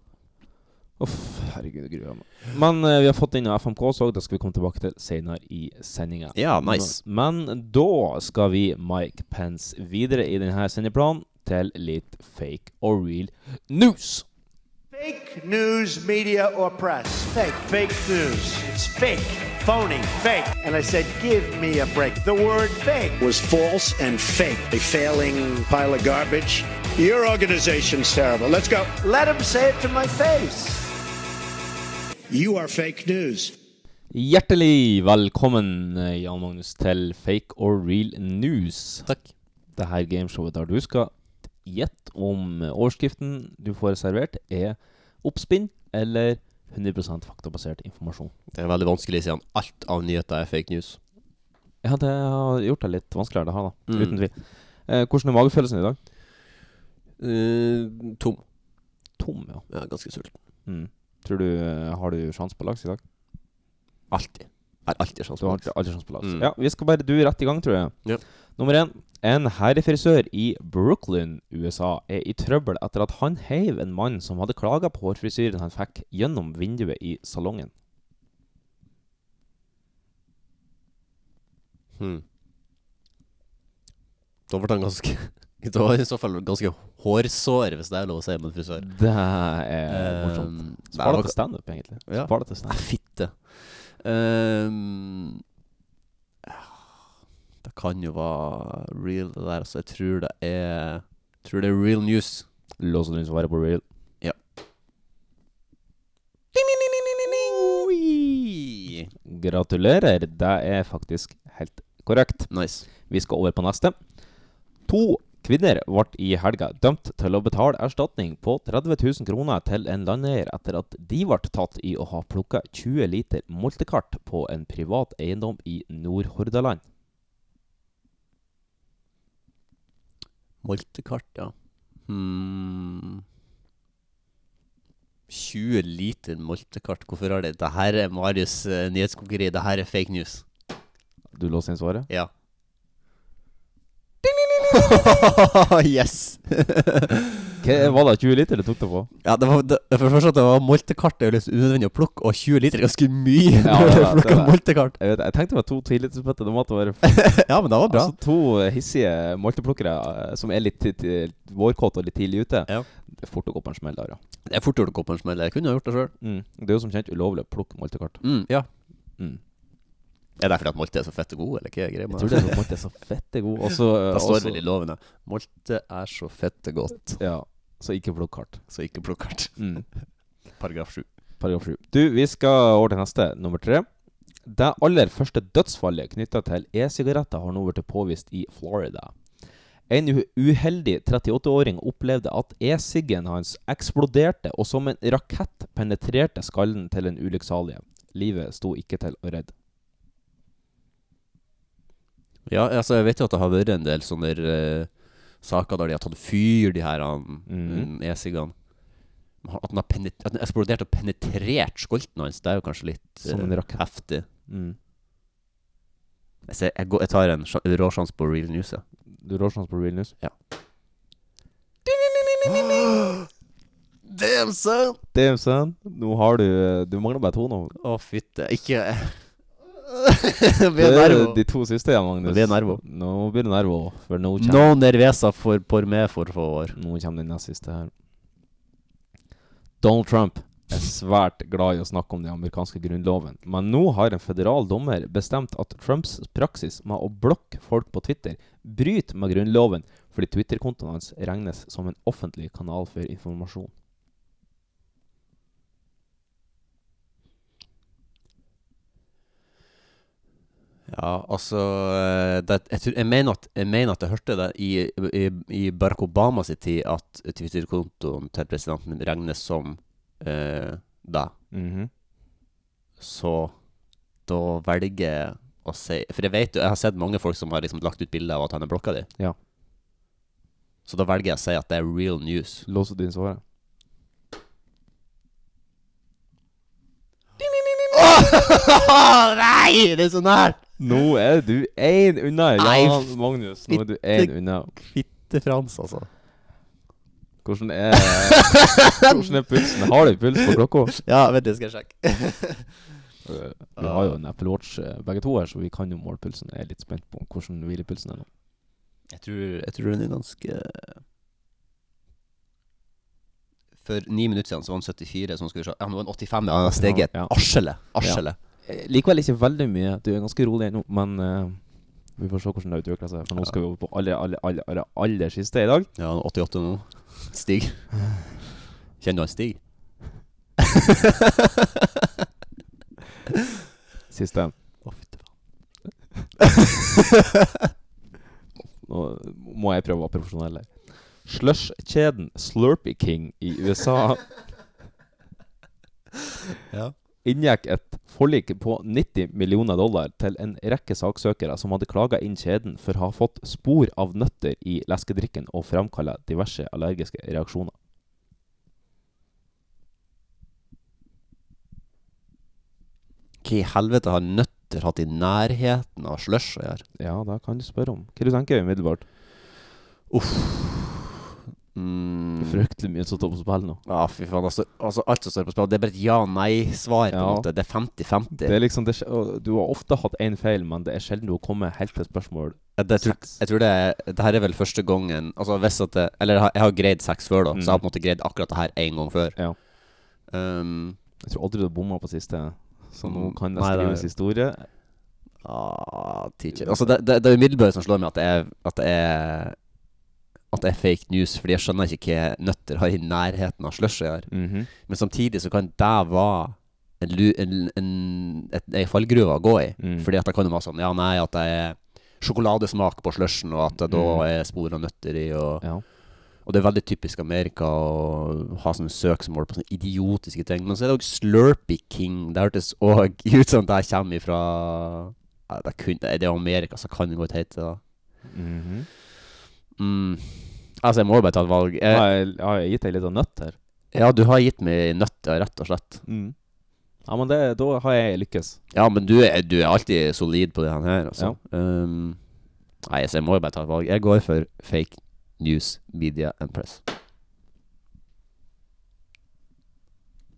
Uff, herregud, jeg gruer meg. Men eh, vi har fått inn av FMK også, det skal vi komme tilbake til senere i sendinga. Ja, nice. Men da skal vi Mike Pence videre i denne sendeplanen til litt fake or real news. Fake news, media, or press. Fake. Fake news. It's fake. Phony. Fake. And I said, give me a break. The word fake was false and fake. A failing pile of garbage. Your organization's terrible. Let's go. Let him say it to my face. You are fake news. Hjertelig velkommen, eh, Jan Magnus, til Fake or Real News. Takk. Det her gameshowet der du skal gjette om eh, overskriften du får servert, er oppspinn eller 100 faktabasert informasjon. Det er veldig vanskelig siden alt av nyheter er fake news. Ja, det har gjort det litt vanskeligere, det her, da. Mm. Uten tvil. Eh, hvordan er magefølelsen i dag? Eh, tom. Tom, ja. Ja, ganske sulten. Mm. Tror du, eh, Har du sjanse på laks i dag? Alltid. Har alltid sjanse Du på har laks. alltid- alltid sjanse på laks. Mm. Ja, vi skal bare du rett i gang, tror jeg. Ja. Nummer én. En herrefrisør i Brooklyn, USA, er i trøbbel etter at han heiv en mann som hadde klaga på hårfrisyren han fikk, gjennom vinduet i salongen. Hmm. Da ble han ganske Da var han i så fall ganske hårsår, hvis det er lov å si med en frisør. Mm. Det er Eh, morsomt. det Spar var- det til standup, egentlig. Ja. Spar det til standup. Nei, fitte. Ehm, det kan jo være real, det der. Altså, jeg tror det er Tror det er real news. Lås og lyn svaret på real. Ja. Gratulerer. Det er faktisk helt korrekt. Nice. Vi skal over på neste. To kvinner ble i helga dømt til å betale erstatning på 30 000 kroner til en landeier etter at de ble tatt i å ha plukka 20 liter multekart på en privat eiendom i Nord-Hordaland. Moltekart, ja. Hmm. 20 liter moltekart. Hvorfor har det Det her er Marius' eh, nyhetskokkeri. Det her er fake news. Du låser inn svaret? Ja. yes! Hva var det 20 liter du tok det på? Ja, det var, det, for det første at det var moltekart er jo litt unødvendig å plukke, og 20 liter er ganske mye. Ja, når det du er- plukker det er- moltekart. Jeg, vet, jeg tenkte det var to tillitsbøtter. Det måtte være Ja, men det var bra. Altså To hissige molteplukkere eh, som er litt tid- til- vårkåte og litt tidlig ute. Det er fort å gå på en smell der, ja. Det er fort gjort å gå på en smell. Jeg kunne ha gjort det sjøl. Mm. Det er jo som kjent ulovlig å plukke moltekart. Mm, ja. Mm. Er det fordi at molte er så fette gode, eller hva er greia Jeg med tror det er for molte er så fette gode. Og så, eh, Da står også- det vel i loven, ja. Molte er så fette godt. Ja, så ikke plukk hardt. Så ikke plukk hardt. Mm. Paragraf 7. Paragraf 7. Du, vi skal over til neste, nummer tre. Det aller første dødsfallet knytta til e-sigaretter har nå blitt påvist i Florida. En u- uheldig 38-åring opplevde at e-siggen hans eksploderte og som en rakett penetrerte skallen til en ulykksalige. Livet sto ikke til å redde. Ja, altså, jeg vet jo at det har vært en del sånne eh, saker der de har tatt fyr, de her han, Mhm. mm. e-siggene. Men At den har penet- at den eksplodert og penetrert skolten hans, det er jo kanskje litt Som en eh, Sånn rakett. heftig. Mm. Jeg, ser, jeg, går, jeg tar en sja- rå sjanse på real news, ja. Du råsjans på real news? Ja. Det Damn, son! Damn, son. Nå har du Du mangler bare to nå. Å, fytte. Ikke Det er er nervo. de to siste igjen, Magnus. Det er nervo. Nå blir det nervo. For nå kommer No nervesa for, por me for favor. Nå kommer den nest siste her. Donald Trump er svært glad i å snakke om den amerikanske grunnloven, men nå har en føderal dommer bestemt at Trumps praksis med å blokke folk på Twitter bryter med grunnloven fordi Twitter-kontoen hans regnes som en offentlig kanal for informasjon. Ja, altså eh, det, jeg, tror, jeg, mener at, jeg mener at jeg hørte det i, i, i Barack Obamas tid at Twitter-kontoen til presidenten regnes som eh, deg. Mhm. Så da velger jeg å si For jeg vet jo, jeg har sett mange folk som har liksom lagt ut bilder av at han er blokka di. Ja. Så da velger jeg å si at det er real news. Låser du inn svaret? nei! Det er så nært! Nå er du én unna! Ja, Nei, Magnus, nå er du fitte- én unna. Fitte Frans, altså. Hvordan er Hvordan er pulsen? Har du puls på klokka? Ja, vent, jeg skal sjekke. Eh, Vi har jo en Apple Watch eh, begge to her, så vi kan jo måle pulsen. Jeg er litt spent på hvordan hvilepulsen er nå. Jeg tror, jeg tror den er ganske For ni minutter siden så var den 74, så nå skal vi se. Ja, nå er den 85. Ja, den har steget et arsele. Arsele. Ja. Eh, Likevel ikke veldig mye. Du er ganske rolig ennå, men eh, vi får se hvordan det utvikler seg. For nå skal vi over på aller, aller, aller, aller, aller siste i dag. Ja, den er 88 nå. Stig. Kjenner du han Stig? Siste. Å, fytti Nå må jeg prøve å være profesjonell her. Slush-kjeden Slurpee King i USA Ja. inngikk et forlik på 90 millioner dollar til en rekke saksøkere som hadde klaga inn kjeden for å ha fått spor av nøtter i leskedrikken og framkalla diverse allergiske reaksjoner. Hva i helvete har nøtter hatt i nærheten av slush å gjøre? Ja, det kan du spørre om. Hva du tenker du umiddelbart? Uff. Mm. Fryktelig mye som står på spill nå. Ja, fy faen. Altså, altså, alt som står på spill, det er bare et ja-nei-svar. på en måte Det er 50-50. Det er liksom, det, er sj- og du har ofte hatt én feil, men det er sjelden du har kommet helt til spørsmål Ja, det, tror, jeg tror det er Det her er vel første gangen Altså hvis at det, Eller jeg har, jeg har greid seks før da Så jeg har på en måte greid akkurat det her en gang før Ja um, Jeg tror aldri du har bomma på siste, så nå kan det Mm. Nei, det er- skrives historie. ah, teacher. Altså det, det, det er umiddelbart som slår meg At det er At det er At det er fake news Fordi jeg skjønner ikke hva nøtter har i nærheten av slush jeg har Mhm. Men samtidig så kan det være En, lu- en, en, et, en fallgruve å gå i Mm. Fordi at det kan jo være sånn Ja nei at det er Sjokoladesmak på slushen Og at det da Mm. er spor av nøtter i og Ja. Og det er veldig typisk Amerika å ha sånne søksmål på sånne idiotiske ting. Men så er det òg Slurpee King. Det hørtes òg ut som det kommer ifra ja, det, kun, det er Amerika, så kan det godt hete det. Mhm. Mm. Altså, jeg må jo bare ta et valg. Har Jeg, jeg, har jeg gitt deg litt av nøtt her? ja, du har gitt meg nøtter, rett og slett. Mm. Ja, men det, da har jeg lykkes. Ja, men du er, du er alltid solid på det her, altså. Um, nei, så jeg må jo bare ta et valg. Jeg går for fake news, media and press.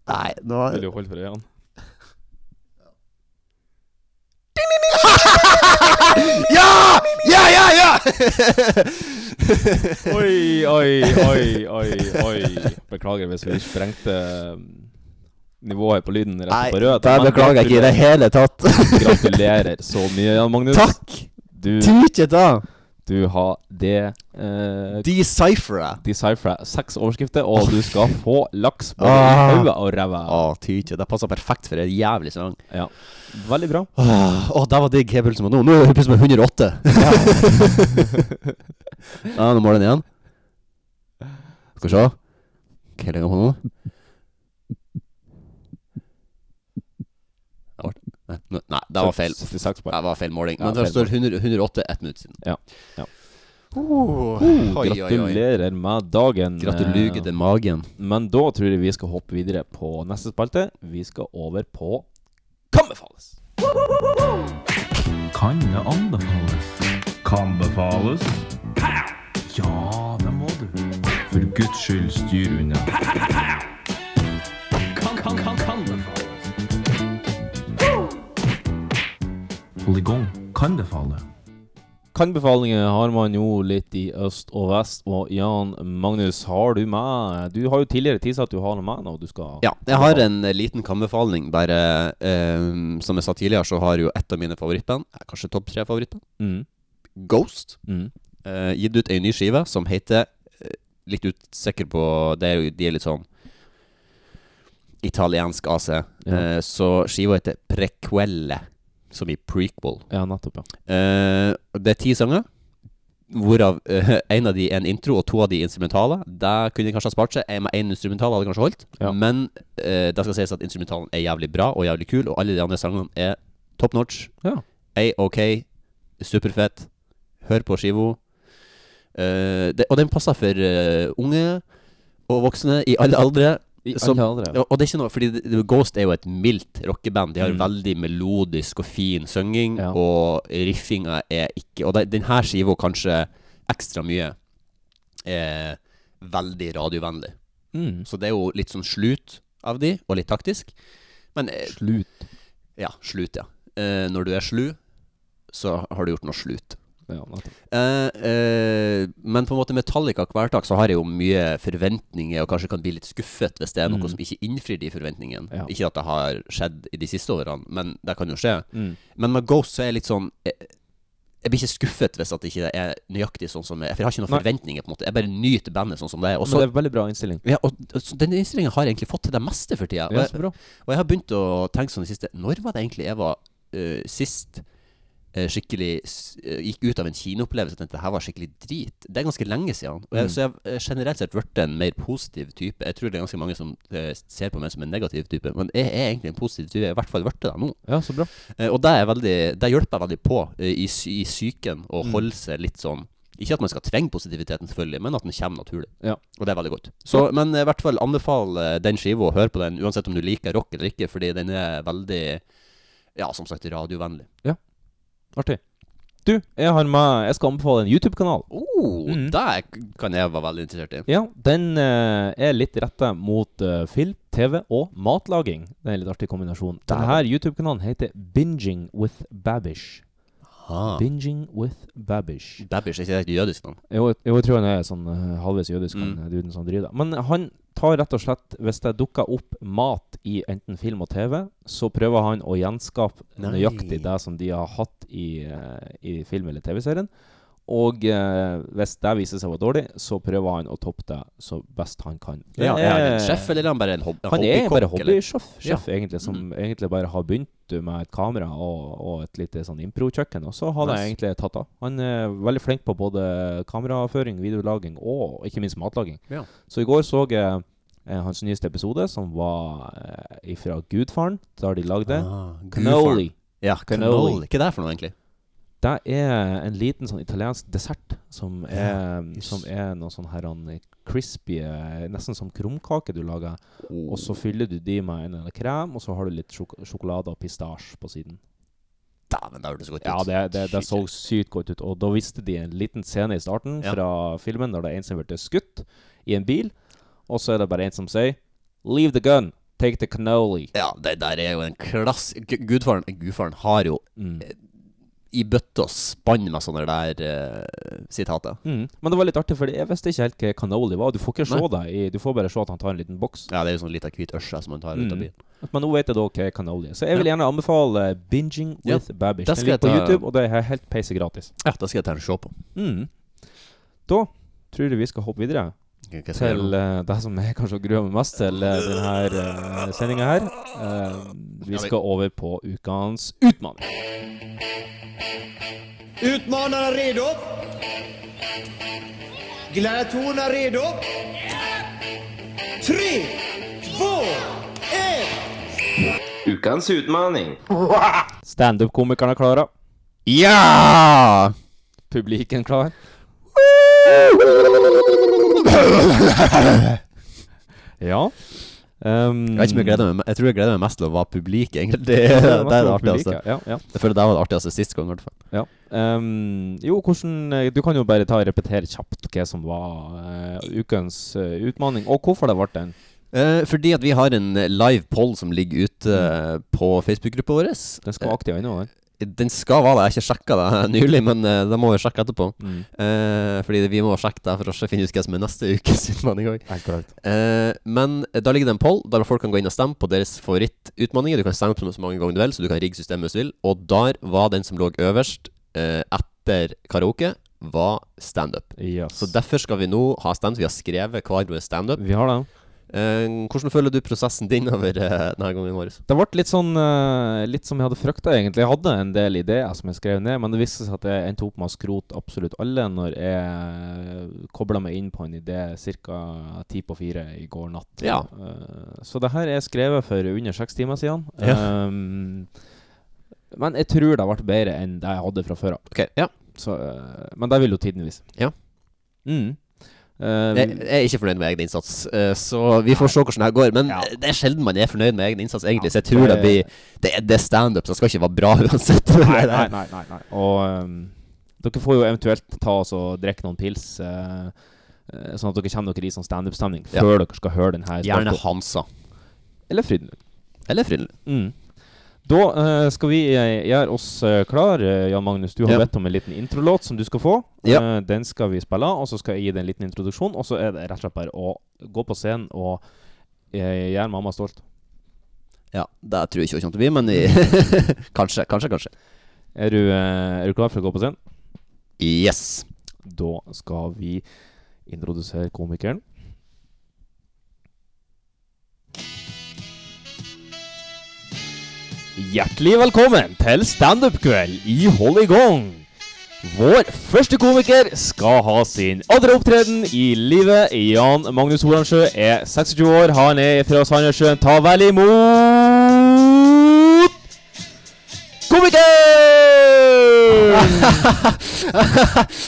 Nei, nå Vil du holde for øynene? Ja! Ja, ja, ja! Oi, oi, oi, oi, oi. Beklager hvis vi sprengte um, nivået på lyden rett på Nei, rød. det beklager jeg ikke i det hele tatt. Gratulerer så mye, Jan Magnus. Takk! Du, Tykke da! du har det eh, Decipher Decipher seks overskrifter, og du skal få laks på Ah. hodet og ræva. Å, tykke. Det passer perfekt for en jævlig sånn sang. Ja. Veldig bra. Åh, åh, det var digg. Hva er pulsen på nå? Nå er pulsen på 108. ja, nå må den igjen. Skal vi se. Hva legger jeg på nå? Det var- Nei, nå- nei, det var feil. 76 poeng. Det var feil måling. Ja, Men det feil står 100, 108 ett minutt siden. Ja. ja. Oh, oi, oi, oi. gratulerer med dagen. Eh, Gratulerer til magen. Men da tror jeg vi skal hoppe videre på neste spalte. Vi skal over på Kan befales. Kan det anbefales? Kan befales? Ja, det må du. For guds skyld, styr unna. kan befale. Kan befalinger har man jo litt i øst og vest. Og Jan Magnus, har du med Du har jo tidligere tilsagt at du har noe med når du skal Ja, jeg har en eh, liten kan-befaling. Bare eh, som jeg sa tidligere, så har jo ett av mine favorittband, eh, kanskje topp tre favoritter, Mm. Ghost, Mm. eh, gitt ut ei ny skive som heter eh, Litt usikker på det er jo, De er litt sånn italiensk AC. Eh, så skiva heter Prequelle, som i prequel. Ja, nettopp, ja. Eh, det er ti sanger, hvorav eh, en av de er en intro, og to av de er instrumentale. Det kunne de kanskje ha spart seg. En med en instrumental hadde kanskje holdt. Men eh, det skal sies at instrumentalen er jævlig bra og jævlig kul, og alle de andre sangene er top notch. Ja. A-OK, superfett. Hør på skiva. Eh, det, og den passer for eh, unge og voksne i alle aldre. I alle Som- aldre. og og det er ikke noe, fordi det- det- Ghost er jo et mildt rockeband. De har Mm. veldig melodisk og fin synging, og riffinga er ikke Og det, denne skiva kanskje ekstra mye er veldig radiovennlig. Mm. Så det er jo litt sånn slut av de, og litt taktisk. Men eh, Slut. Ja, slut, ja. Eh, når du er slu, så har du gjort noe slut. Ja, nettopp. Eh, eh, men på en måte Metallica hverdag så har jeg jo mye forventninger, og kanskje kan bli litt skuffet hvis det er noe Mm. som ikke innfrir de forventningene. Ja. Ikke at det har skjedd i de siste årene, men det kan jo skje. Mm. Men med Ghost så er jeg litt sånn jeg, jeg blir ikke skuffet hvis at det ikke er nøyaktig sånn som jeg For jeg har ikke noen Nei. forventninger, på en måte. Jeg bare nyter bandet sånn som det er. Og Men så- det er veldig bra innstilling. Mm. ja, og så Den innstillingen har jeg egentlig fått til det meste for tida. Og, Ja, jeg- så bra. og jeg har begynt å tenke sånn i det siste Når var det egentlig jeg var eh, sist eh, skikkelig s- eh, Gikk ut av en kinoopplevelse og tenkte det her var skikkelig drit? Det er ganske lenge siden. Og jeg, Mm. Så jeg har eh, generelt sett blitt en mer positiv type. Jeg tror det er ganske mange som eh, ser på meg som en negativ type, men jeg er egentlig en positiv type. Jeg er i hvert fall blitt det nå. Ja, så bra. Eh, og det, er veldig, det hjelper jeg veldig på eh, i, sy- i psyken, å Mm. holde seg litt sånn Ikke at man skal trenge positiviteten, selvfølgelig, men at den kommer naturlig. Ja. Og det er veldig godt. Så, men eh, i hvert fall anbefal eh, den skiva, og hør på den, uansett om du liker rock eller ikke, fordi den er veldig Ja, som sagt, radiovennlig. Artig. Du, jeg har med Jeg skal anbefale en YouTube-kanal. Oh, Mm. Det kan jeg være veldig interessert i. Ja, den eh, er litt retta mot eh, film, TV og matlaging. Det er en litt artig kombinasjon. Denne her YouTube-kanalen heter Binging with Babish. Ah. Binging with Babish. Babish, er ikke det et jødisk navn? Jo, jo, jeg tror han er sånn eh, halvveis jødisk, han Mm. eh, duden som driver det. Men han tar rett og slett Hvis det dukker opp mat i enten film og TV, så prøver han å gjenskape Nei. nøyaktig det som de har hatt i, eh, i film- eller TV-serien. Og eh, hvis det viser seg å være dårlig, så prøver han å toppe det så best han kan. Det Ja, er han en sjef, eller er han bare en hob- Han er hobbykokk, bare eller? hobbysjef, Ja. Mm. sjef, egentlig, som egentlig bare har begynt med et kamera og, og et lite sånn impro-kjøkken, og så har det Nice. egentlig tatt av. Han er veldig flink på både kameraføring, videolaging og ikke minst matlaging. Ja. Så i går så jeg eh, hans nyeste episode, som var eh, ifra Gudfaren, der de lagde Ah, cannoli. Gudfaren. Ja, cannoli. Hva er det for noe, egentlig? Det er en liten sånn italiensk dessert som er, som er noe sånn her han, crispy, eh, nesten som krumkake du lager. Og så fyller du de med en eller krem, og så har du litt sjok sjokolade og pistasje på siden. Dæven, det hørtes godt ut. Ja, det, det, det så sykt godt ut. Og da viste de en liten scene i starten Ja. fra filmen, der det er en som blir skutt i en bil, og så er det bare en som sier Leave the gun, take the cannoli. Ja, det der er jo en klass... Gu- Gudfaren, Gudfaren har jo Mm. eh, i bøtte og spann med sånne der eh, sitater. Mm. Men det var litt artig, for jeg visste ikke helt hva cannoli var. Du får ikke se det, i, du får bare se at han tar en liten boks. Ja, det er jo sånn lita hvit ørse som man tar Mm. ut av bilen. Men nå vet jeg da hva cannoli er. Så jeg vil gjerne anbefale Binging Ja, with Babish. det Den skal ligger på jeg ta- YouTube, og det er helt peise gratis. Ja, da skal jeg ta en se på. Mm. Da tror jeg vi skal hoppe videre Ok, hva skal jeg til eh, det som jeg kanskje gruer meg mest til eh, denne uh, sendinga her. Eh, vi Ja, vi- skal over på ukens utfordring. Utmanarna redo? Gladiatorerna redo? Tre, två, ett! Ukens utfordring. Standup-komikerne er klare. Ja! Publiken klar. Ja. Ehm, Jeg vet ikke om jeg gleder meg Jeg tror jeg gleder meg mest til å være publik, egentlig. Det, Ja, det, det er mest er det å være publik, artigste. ja, ja. Jeg føler det var det artigste sist gang, i hvert fall. Ja. Ehm, jo, hvordan eh, Du kan jo bare ta og repetere kjapt hva som var eh, ukens eh, utfordring, og hvorfor det ble den. Eh, fordi at vi har en live poll som ligger ute eh, på Facebook-gruppa vår. Eh, Den Mm. skal være aktiv ennå, den. Den skal være der. Jeg har ikke sjekka det nylig, men eh, det må vi sjekke etterpå. Mm. Eh, fordi vi må sjekke det for å finne ut hva som er neste ukes utfordring òg. Eh, men da ligger det en poll der folk kan gå inn og stemme på deres favorittutfordringer. Du kan stemme på dem så mange ganger du vil, så du kan rigge systemet hvis du vil. Og der var den som lå øverst eh, etter karaoke, var standup. Yes. Så derfor skal vi nå ha standup. Vi har skrevet hver vår standup. Eh, Vi har det. hvordan føler du prosessen din over eh, denne gangen, Marius? Det ble litt sånn eh, Litt som jeg hadde frykta, egentlig. Jeg hadde en del ideer som jeg skrev ned, men det viste seg at jeg endte opp med å skrote absolutt alle når jeg kobla meg inn på en idé ca. ti på fire i går natt. Ja. Eh, så det her er skrevet for under seks timer siden. Ja. Um, men jeg tror det ble bedre enn det jeg hadde fra før av. Ok, ja. Så, eh, men det vil jo tiden vise. Ja. Mm. Eh, Jeg, jeg er ikke fornøyd med egen innsats, eh, så vi får se hvordan det her går. Men det er sjelden man er fornøyd med egen innsats, egentlig. Så jeg tror det- det blir Det, er- det er standup, så det skal ikke være bra uansett. tror jeg Nei, det er. nei, nei, nei, nei. Og ehm, dere får jo eventuelt ta oss og drikke noen pils, eh, eh, sånn at dere kommer dere i sånn standup-stemning Ja. før dere skal høre den her. Gjerne spalten. Hansa. Eller Frydenlund. Eller Frydenlund. Mm. Da eh, skal vi eh, gjøre oss eh, klar. Eh, Jan Magnus, du har Ja. bedt om en liten introlåt som du skal få. Ja. Eh, den skal vi spille, av, og så skal jeg gi deg en liten introduksjon. Og så er det rett og slett bare å gå på scenen og eh, gjøre mamma stolt. Ja, det tror jeg ikke hun kommer til å bli, men vi Kanskje, kanskje, kanskje. Er du, eh, er du klar for å gå på scenen? Yes. Da skal vi introdusere komikeren. Hjertelig velkommen til standup-kveld i Hollygong. Vår første komiker skal ha sin andre opptreden i livet. Jan Magnus Horansjø er 26 år, han er fra Sandnessjøen. Ta vel imot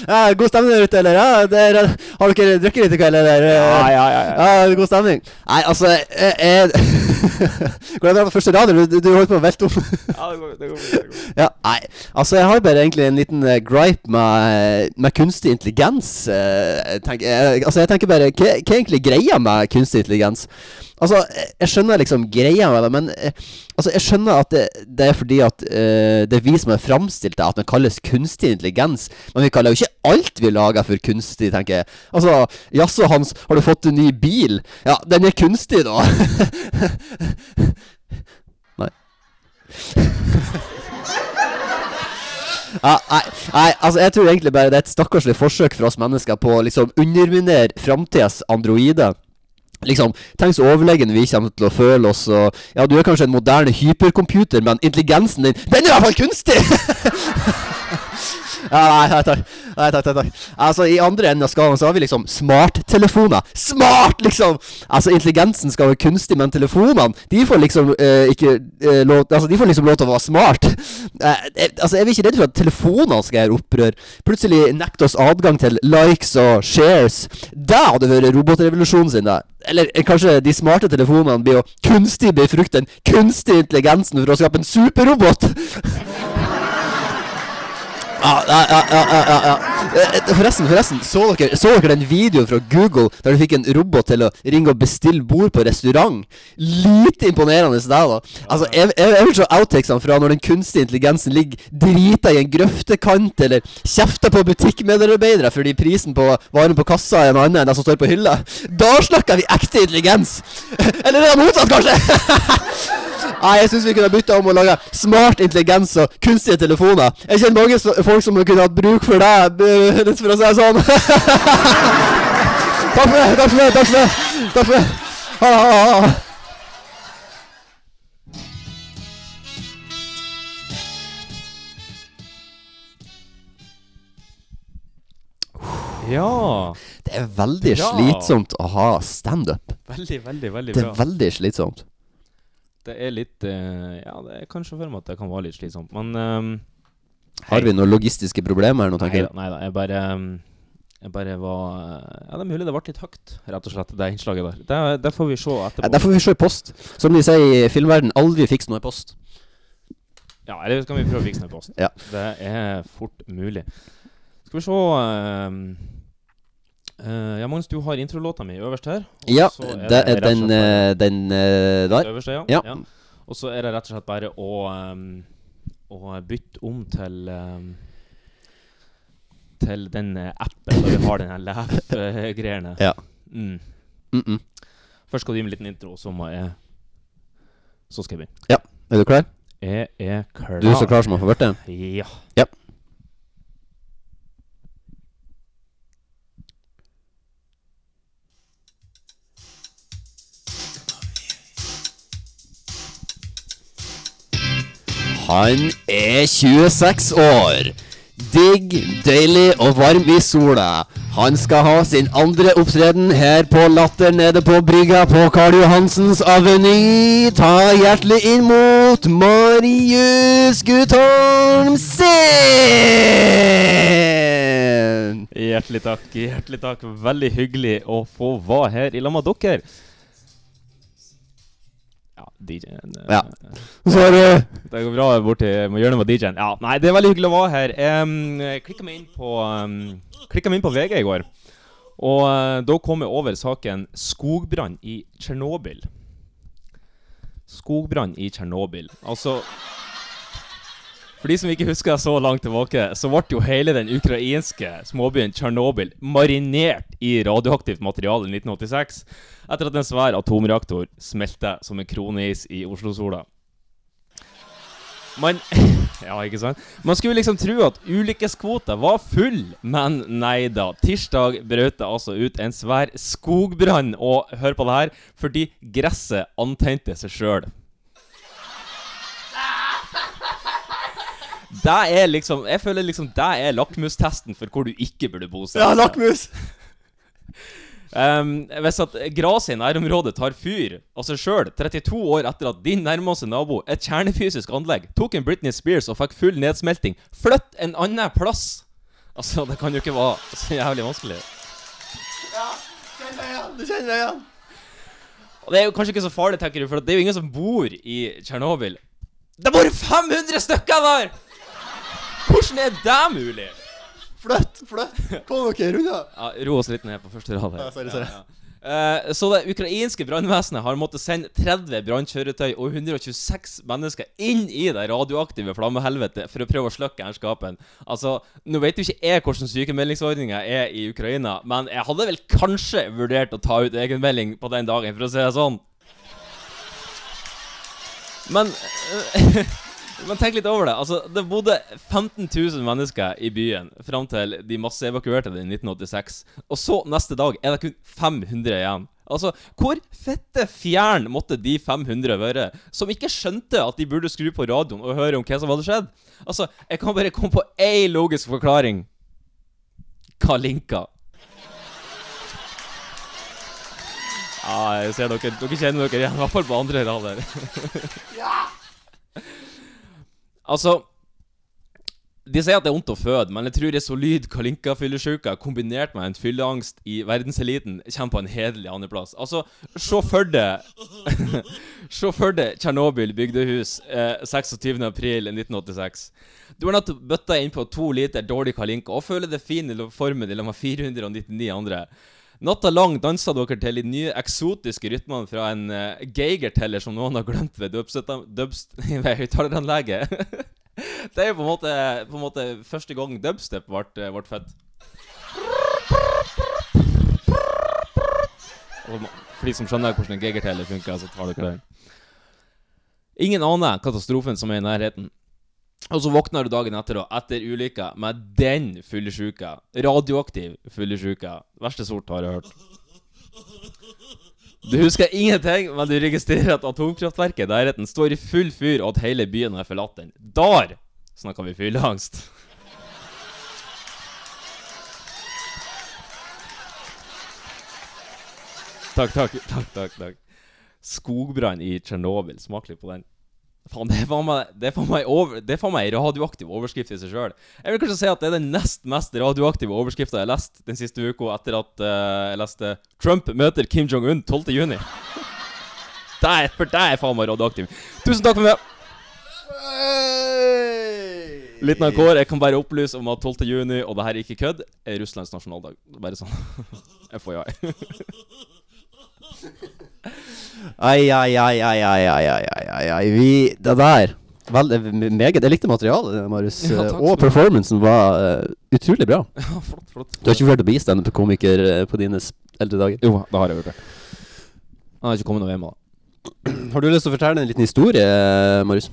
Ja, god stemning der ute, eller? Ja, der, har dere drukket litt i kveld, eller? Ja, ja, ja. god stemning. Nei, altså jeg, jeg Går det bra på første rad, eller? Du, du holdt på å velte om. Ja, det går, det går, det går. Ja, nei, altså jeg har bare egentlig en liten eh, gripe med, eh, med kunstig intelligens. eh, tenk, eh, altså jeg tenker bare, hva, hva er egentlig greia med kunstig intelligens? Altså, jeg, jeg skjønner liksom greia med det, men eh, altså jeg skjønner at det, det er fordi at eh, det er vi som har framstilt det, at den kalles kunstig intelligens. Men vi kaller jo ikke alt vi lager for kunstig, tenker jeg. Altså, jaså Hans, har du fått en ny bil? Ja, den er kunstig da. nei. Ja, nei, nei, altså jeg tror egentlig bare det er et stakkarslig forsøk for oss mennesker på å liksom underminere framtidas androide. Liksom, Tenk så overlegne vi kommer til å føle oss. Og, ja, du er kanskje en moderne hypercomputer, men intelligensen din, den er i hvert fall kunstig! ja, nei, nei, takk. Nei, takk, takk, takk. Altså, I andre enden av skalaen så har vi liksom smarttelefoner. Smart, liksom! Altså, intelligensen skal være kunstig, men telefonene, de får liksom eh, ikke eh, lov Altså, de får liksom lov til å være smart. Eh, eh, altså, jeg er ikke redd for at telefonene skal gjøre opprør. Plutselig nekte oss adgang til likes og shares. Det hadde vært robotrevolusjonen sin, det. Eller eh, kanskje de smarte telefonene blir å kunstig befrukte den kunstige intelligensen for å skape en superrobot. Ja, ja, ja, ja, ja, ja, ja. Eh, eh, Forresten, forresten, så dere, så dere den videoen fra Google der du fikk en robot til å ringe og bestille bord på restaurant? Lite imponerende det, da. Altså, jeg, jeg, jeg vil se outtakesene fra når den kunstige intelligensen ligger drita i en grøftekant, eller kjefter på butikkmedarbeidere fordi prisen på varen på kassa er en annen enn den som står på hylla. Da snakker vi ekte intelligens! Eller er det motsatt, kanskje? Nei, jeg syns vi kunne bytta om og laga smart intelligens og kunstige telefoner. Jeg kjenner mange s- folk som kunne hatt bruk for deg, b- litt for å si det sånn. takk for det, takk for det, takk for det. Takk for det. Ha, ha, ha, ha. Ja. Det er veldig Bra. slitsomt å ha standup. Veldig, veldig, veldig Det er bra. veldig slitsomt. Det er litt eh, Ja, det er kanskje for meg at det kan være litt slitsomt, men ehm, Har vi noen logistiske problemer her nå, tenker Nei jeg? da, nei da. Jeg bare ehm, Jeg bare var eh, Ja, det er mulig det ble litt høyt, rett og slett, det innslaget der. Det, det får vi se Nei, etterpå. Der får vi se i post. Som de sier i filmverden, aldri fiks noe i post. Ja, eller skal vi prøve å fikse den på oss? Ja. Det er fort mulig. Skal vi se ehm, eh, Ja, Magnus, du har introlåta mi øverst her. og Ja, så er det er rett og slett den, eh, den eh, der. Øverste, ja. Ja. ja. Og så er det rett og slett bare å um, og bytte om til eh, Til den eh, appen der vi har den her Leaf-greiene. Ja. Mm. Mm -mm. Først skal du gi meg en liten intro, så må jeg Så skal jeg begynne. Ja, er du klar? Jeg er klar. Du er så klar som man får vært det? Ja. Ja. Han er 26 år. Digg, deilig og varm i sola. Han skal ha sin andre opptreden her på Latter nede på brygga på Karl Johansens aveny. Ta hjertelig inn mot Marius Guttorm Seen! Hjertelig takk. Hjertelig takk. Veldig hyggelig å få være her i lag med dere. Ja, DJ-en eh, Ja. Så er det- Det går bra borti må gjøre noe med DJ-en. Ja, nei, det er veldig hyggelig å være her. Um, Klikka meg inn på em, Klikket meg inn på VG i går. Og eh, da kom jeg over saken skogbrann i Tsjernobyl. Skogbrann i Tsjernobyl. Altså For de som ikke husker så langt tilbake, så ble jo hele den ukrainske småbyen Tsjernobyl marinert i radioaktivt materiale i 1986 etter at en svær atomreaktor smelte som en kroneis i Oslo-sola. Man Ja, ikke sant? Man skulle liksom tro at ulykkeskvota var full, men nei da. Tirsdag brøt det altså ut en svær skogbrann, og hør på det her, fordi gresset antente seg sjøl. Det er liksom Jeg føler liksom det er lakmustesten for hvor du ikke burde bo. Ja, lakmus! Um, hvis at gresset i nærområdet tar fyr av seg sjøl 32 år etter at din nærmeste nabo, et kjernefysisk anlegg, tok en Britney Spears og fikk full nedsmelting, flytt en annen plass! Altså, det kan jo ikke være så jævlig vanskelig. Du kjenner deg igjen. Og det er jo kanskje ikke så farlig, tenker du, for det er jo ingen som bor i Tsjernobyl. Det bor 500 stykker der! Hvordan er det mulig? Flytt, flytt. Kom dere unna. Ja, ro oss litt ned på første rad her. Ja, sorry, sorry. Ja, ja. Eh, så det ukrainske brannvesenet har måttet sende 30 brannkjøretøy og 126 mennesker inn i det radioaktive flammehelvetet for å prøve å slukke jernskapen. Altså, nå vet jo ikke jeg hvordan sykemeldingsordninga er i Ukraina, men jeg hadde vel kanskje vurdert å ta ut egenmelding på den dagen, for å si det sånn. Men eh, Men tenk litt over det. Altså, det bodde 15 000 mennesker i byen fram til de masseevakuerte det i 1986. Og så, neste dag, er det kun 500 igjen. Altså, hvor fette fjern måtte de 500 være, som ikke skjønte at de burde skru på radioen og høre om hva som hadde skjedd? Altså, jeg kan bare komme på én logisk forklaring. Kalinka. Ja, jeg ser dere, dere kjenner dere igjen, i hvert fall på andre rad her. Altså De sier at det er vondt å føde, men jeg tror en solid Kalinka-fyllesyke kombinert med en fylleangst i verdenseliten kommer på en hederlig andreplass. Altså, se for deg Se for deg Tsjernobyl bygdehus eh, 26.4.1986. Du har nettopp bøtta innpå to liter dårlig Kalinka og føler deg fin i lo- formen i lag med 499 andre. Natta lang dansa dere til de nye eksotiske rytmene fra en uh, Geiger-teller som noen har glemt ved dubstøtta- dubst- ved høyttaleranlegget. det er jo på en måte, på en måte første gang dubstep ble, eh, ble født. Og For de som skjønner hvordan en Geiger-teller funker, så tar dere den. Ingen aner katastrofen som er i nærheten. Og så våkner du dagen etter, da, etter ulykka, med den fyllesyka. Radioaktiv fyllesyka. Verste sort har jeg hørt. Du husker ingenting, men du registrerer at atomkraftverket i nærheten står i full fyr, og at hele byen har forlatt den. Der snakker vi fylleangst. Takk, takk, takk, takk, takk. Skogbrann i Tsjernobyl. Smak litt på den. Faen, det er faen meg Det er faen meg over, det er faen meg en radioaktiv overskrift i seg sjøl. Jeg vil kanskje si at det er den nest mest radioaktive overskrifta jeg har lest den siste uka etter at eh, jeg leste 'Trump møter Kim Jong-un 12.6'. Der, for det er faen meg radioaktiv. Tusen takk for meg. Liten akkord. Jeg kan bare opplyse om at 12. juni, og det her er ikke kødd, er Russlands nasjonaldag. Bare sånn. FYI. Ai, ai, ai, ai, ai, ai, ai, ai, ai, ai. Vi, det der Vel, eh, meget. Jeg likte materialet, Marius. Ja, eh, takk skal og du ha. performancen var eh, utrolig bra. Ja, flott, flott. Du har ikke vurdert å bli standup-komiker eh, på dine s- eldre dager? Jo, det har jeg vurdert. Han har ikke kommet noe hjem, da. Har du lyst til å fortelle en liten historie, eh, Marius?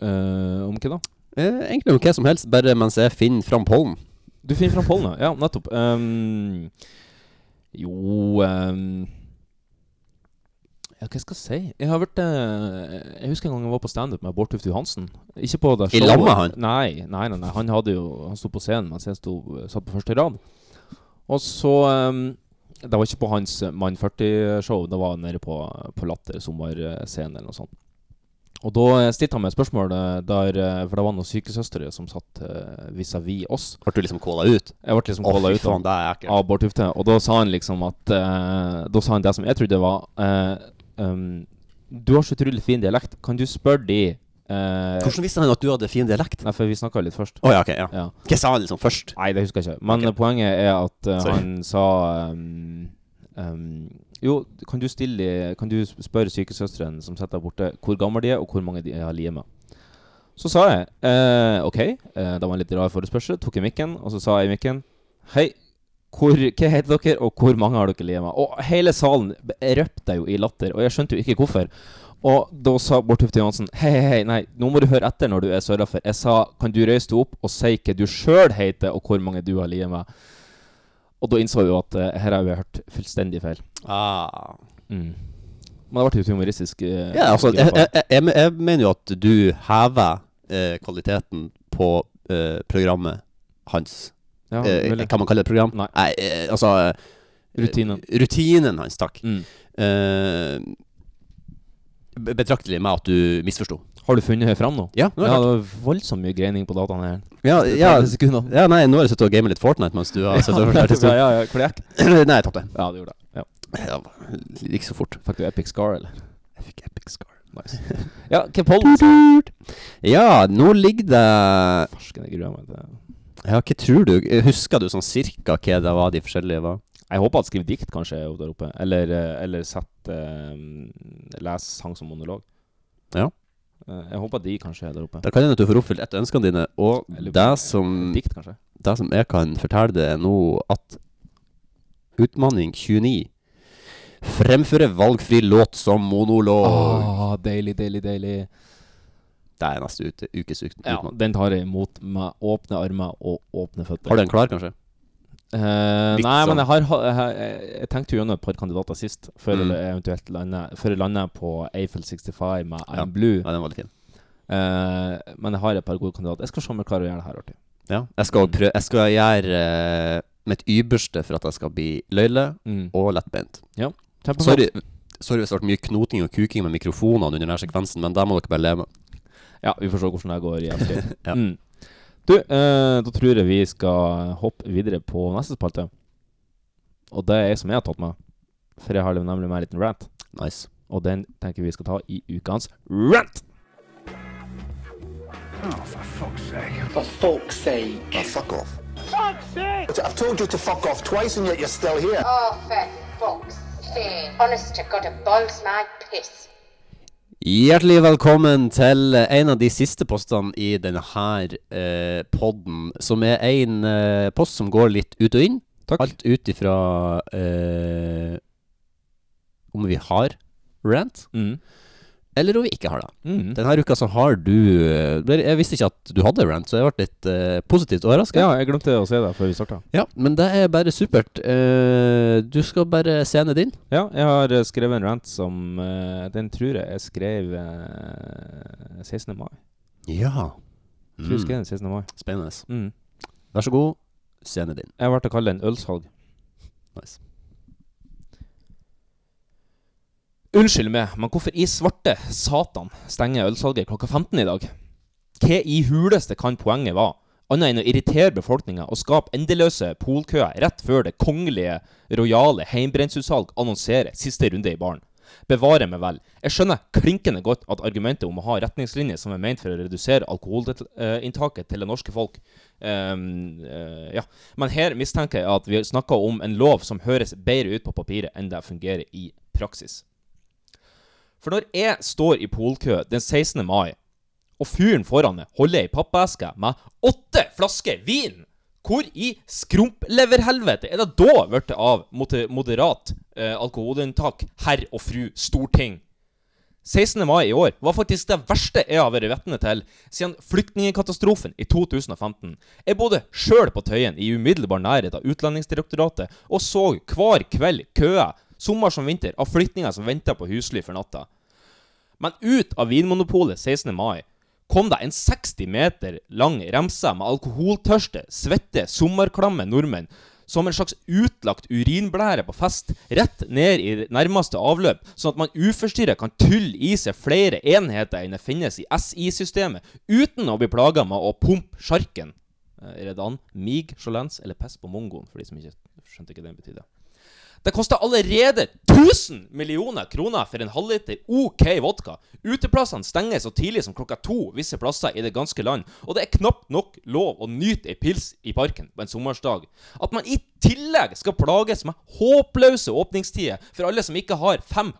Eh, om hva da? Eh, egentlig om hva som helst, bare mens jeg finner fram pollen. Du finner fram pollen, ja. Ja, nettopp. Ehm, jo ehm, Ja, hva skal jeg si? Jeg har vært eh, Jeg husker en gang jeg var på standup med Bård Tufte Johansen. Ikke på det I showet. lag med han? Nei, nei, nei, nei. Han hadde jo Han sto på scenen mens jeg sto, satt på første rad. Og så ehm, Det var ikke på hans Mann 40-show. Det var nede på, på Latter sommerscene eller noe sånt. Og da eh, stilte han meg et spørsmål, eh, der, eh, for det var noen sykesøstre som satt eh, vis-à-vis oss. Ble du liksom calla ut? Jeg ble liksom Å, calla fy ut da, faen, Ah. det er ekkelt. av Bård Tufte. Og da sa han liksom at eh, Da sa han det som jeg trodde var eh, um, Du har så utrolig fin dialekt, kan du spørre de eh, Hvordan visste han at du hadde fin dialekt? Nei, for vi snakka litt først. Å ja, ok, ja. Hva sa han liksom først? Nei, det husker jeg ikke. Men poenget er at eh, Sorry. han sa ehm, ehm, Jo, kan du stille de- Kan du spørre sykesøsteren som sitter der borte, hvor gamle de er, og hvor mange de har livet med? Så sa jeg eh, OK, eh, det var en litt rar forespørsel. Tok jeg mikken, og så sa jeg i mikken Hei, hvor, hva heter dere, og hvor mange har dere livet med? Og hele salen b- røpte jo i latter, og jeg skjønte jo ikke hvorfor. Og da sa Bård Tufte Johansen Hei, hei, hei, nei, nå må du høre etter når du er sørlafer. Jeg sa kan du reise deg opp og si hva du sjøl heter, og hvor mange du har livet med? Og da innså jeg jo at eh, her har jeg hørt fullstendig feil. Ah. Mm. Men det ble jo et humoristisk eh, Ja, altså, jeg, grep av. jeg, jeg, jeg, mener jo at du hever eh, kvaliteten på eh, programmet hans. Ja, eh, mulig. kan man kalle det program? Nei. eh, altså eh, Rutinen. Rutinen hans, takk. Mm. Eh, be- betraktelig med at du misforsto. Har du funnet fram nå? Ja, nå ja, det er det klart. var voldsomt mye greining på dataene her. Ja, Det ja, tar litt sekunder. ja, nei, nå har jeg sittet og gamet litt Fortnite mens du har sittet og fortalt ja, ja, ja, klekk. Nei, jeg tapte. Ja, det gjorde det. Ja. det gikk så fort. Fikk du Epic Scar, eller? Jeg fikk Epic Scar. Nice. ja, hva pollen sier Ja, nå ligger det Farsken, jeg gruer meg til Ja, hva tror du? Husker du sånn cirka hva det var de forskjellige var? Jeg håper at skriv dikt kanskje er der oppe. Eller, eh, eller sett eh, Les sang som monolog. Ja. Eh, Jeg håper at de kanskje er der oppe. Da kan hende at du får oppfylt et av ønskene dine, og Eller- det som Dikt, kanskje? Det som jeg kan fortelle deg er nå, at Utmanning 29 fremfører valgfri låt som monolog. Åh, deilig, deilig, deilig. Det er neste ute, ukes ut, Ja, utmanning. Den tar jeg imot med åpne armer og åpne føtter. Har du en klar, kanskje? Eh, Litt nei, sånn. men jeg, har, ha- jeg, jeg, jeg tenkte jo gjennom et par kandidater sist, før Mm. jeg eventuelt landet, før jeg landet på Eiffel 65 med I'm Ja. Blue. Ja, den var litt fin. Eh, men jeg har et par gode kandidater. Jeg skal se om jeg klarer å gjøre det her artig. Ja. Jeg skal, prøve, jeg skal gjøre eh, mitt ypperste for at jeg skal bli løyle Mm. og lettbeint. Ja, kjempeflott. Sorry, sorry hvis det ble mye knoting og kuking med mikrofonene under denne sekvensen, men det må dere bare leve med. Ja, vi får se hvordan det går i ettertid. Ja. mm. Du, eh, da tror jeg vi skal hoppe videre på neste spalte. Og det er som jeg har tatt med. For jeg har nemlig med en liten rant. Nice. Og den tenker vi skal ta i ukens rant. For folk's sake. fuck off. Fuck's sake! I've told you to fuck off twice and yet you're still here. Oh, for fuck's sake. Honest to God, it boils my piss. Hjertelig velkommen til eh, en av de siste postene i denne her eh, podden, som er en eh, post som går litt ut og inn. Alt ut ifra eh, om vi har rant, eller om vi ikke har det. Mm. Denne uka så har du eh, ble- Jeg visste ikke at du hadde rant, så jeg ble litt eh, positivt overraska. Ja, jeg glemte å se det før vi starta. Ja, men det er bare supert. Eh, du skal bare scene din. Ja, jeg har eh, skrevet en rant som eh, Den tror jeg jeg skrev eh, 16. mai. Ja. Jeg tror jeg skrev den 16. mai. Mm, Spennende. Mm. Vær så god, scene din. Jeg har vært å kalle den ølsalg. Nice. Unnskyld meg, men hvorfor i svarte satan stenger ølsalget klokka 15 i dag? Hva i huleste kan poenget være, annet enn å irritere befolkninga og skape endeløse polkøer rett før det kongelige, rojale heimbrentsutsalg annonserer siste runde i baren? Bevare meg vel, jeg skjønner klinkende godt at argumentet om å ha retningslinjer som er ment for å redusere alkoholinntaket til det norske folk, Ehm, eh, ja. Men her mistenker jeg at vi snakker om en lov som høres bedre ut på papiret enn det fungerer i praksis. For når jeg står i polkø den 16. mai og fyren foran meg holder ei pappeske med åtte flasker vin! Hvor i skrumpleverhelvete er det da blitt av moder- moderat eh, alkoholinntak, herr og fru Storting? 16. mai i år var faktisk det verste jeg har vært vitne til siden flyktningkatastrofen i 2015. Jeg bodde sjøl på Tøyen i umiddelbar nærhet av Utlendingsdirektoratet og så hver kveld køer, sommer som vinter, av flyktninger som venta på husly for natta. Men ut av Vinmonopolet 16. mai kom det en 60 meter lang remse med alkoholtørste, svette, sommerklamme nordmenn som en slags utlagt urinblære på fest, rett ned i nærmeste avløp, sånn at man uforstyrret kan tylle i seg flere enheter enn det finnes i SI-systemet, uten å bli plaga med å pumpe sjarken. Eh, Redan, mig, sjolens eller pess på mongoen, for de som ikke skjønte hva det betydde. Det koster allerede 1000 millioner kroner for en halvliter OK vodka. Uteplassene stenger så tidlig som klokka to visse plasser i det ganske land, og det er knapt nok lov å nyte ei pils i parken på en sommersdag. At man i tillegg skal plages med håpløse åpningstider for alle som ikke har fem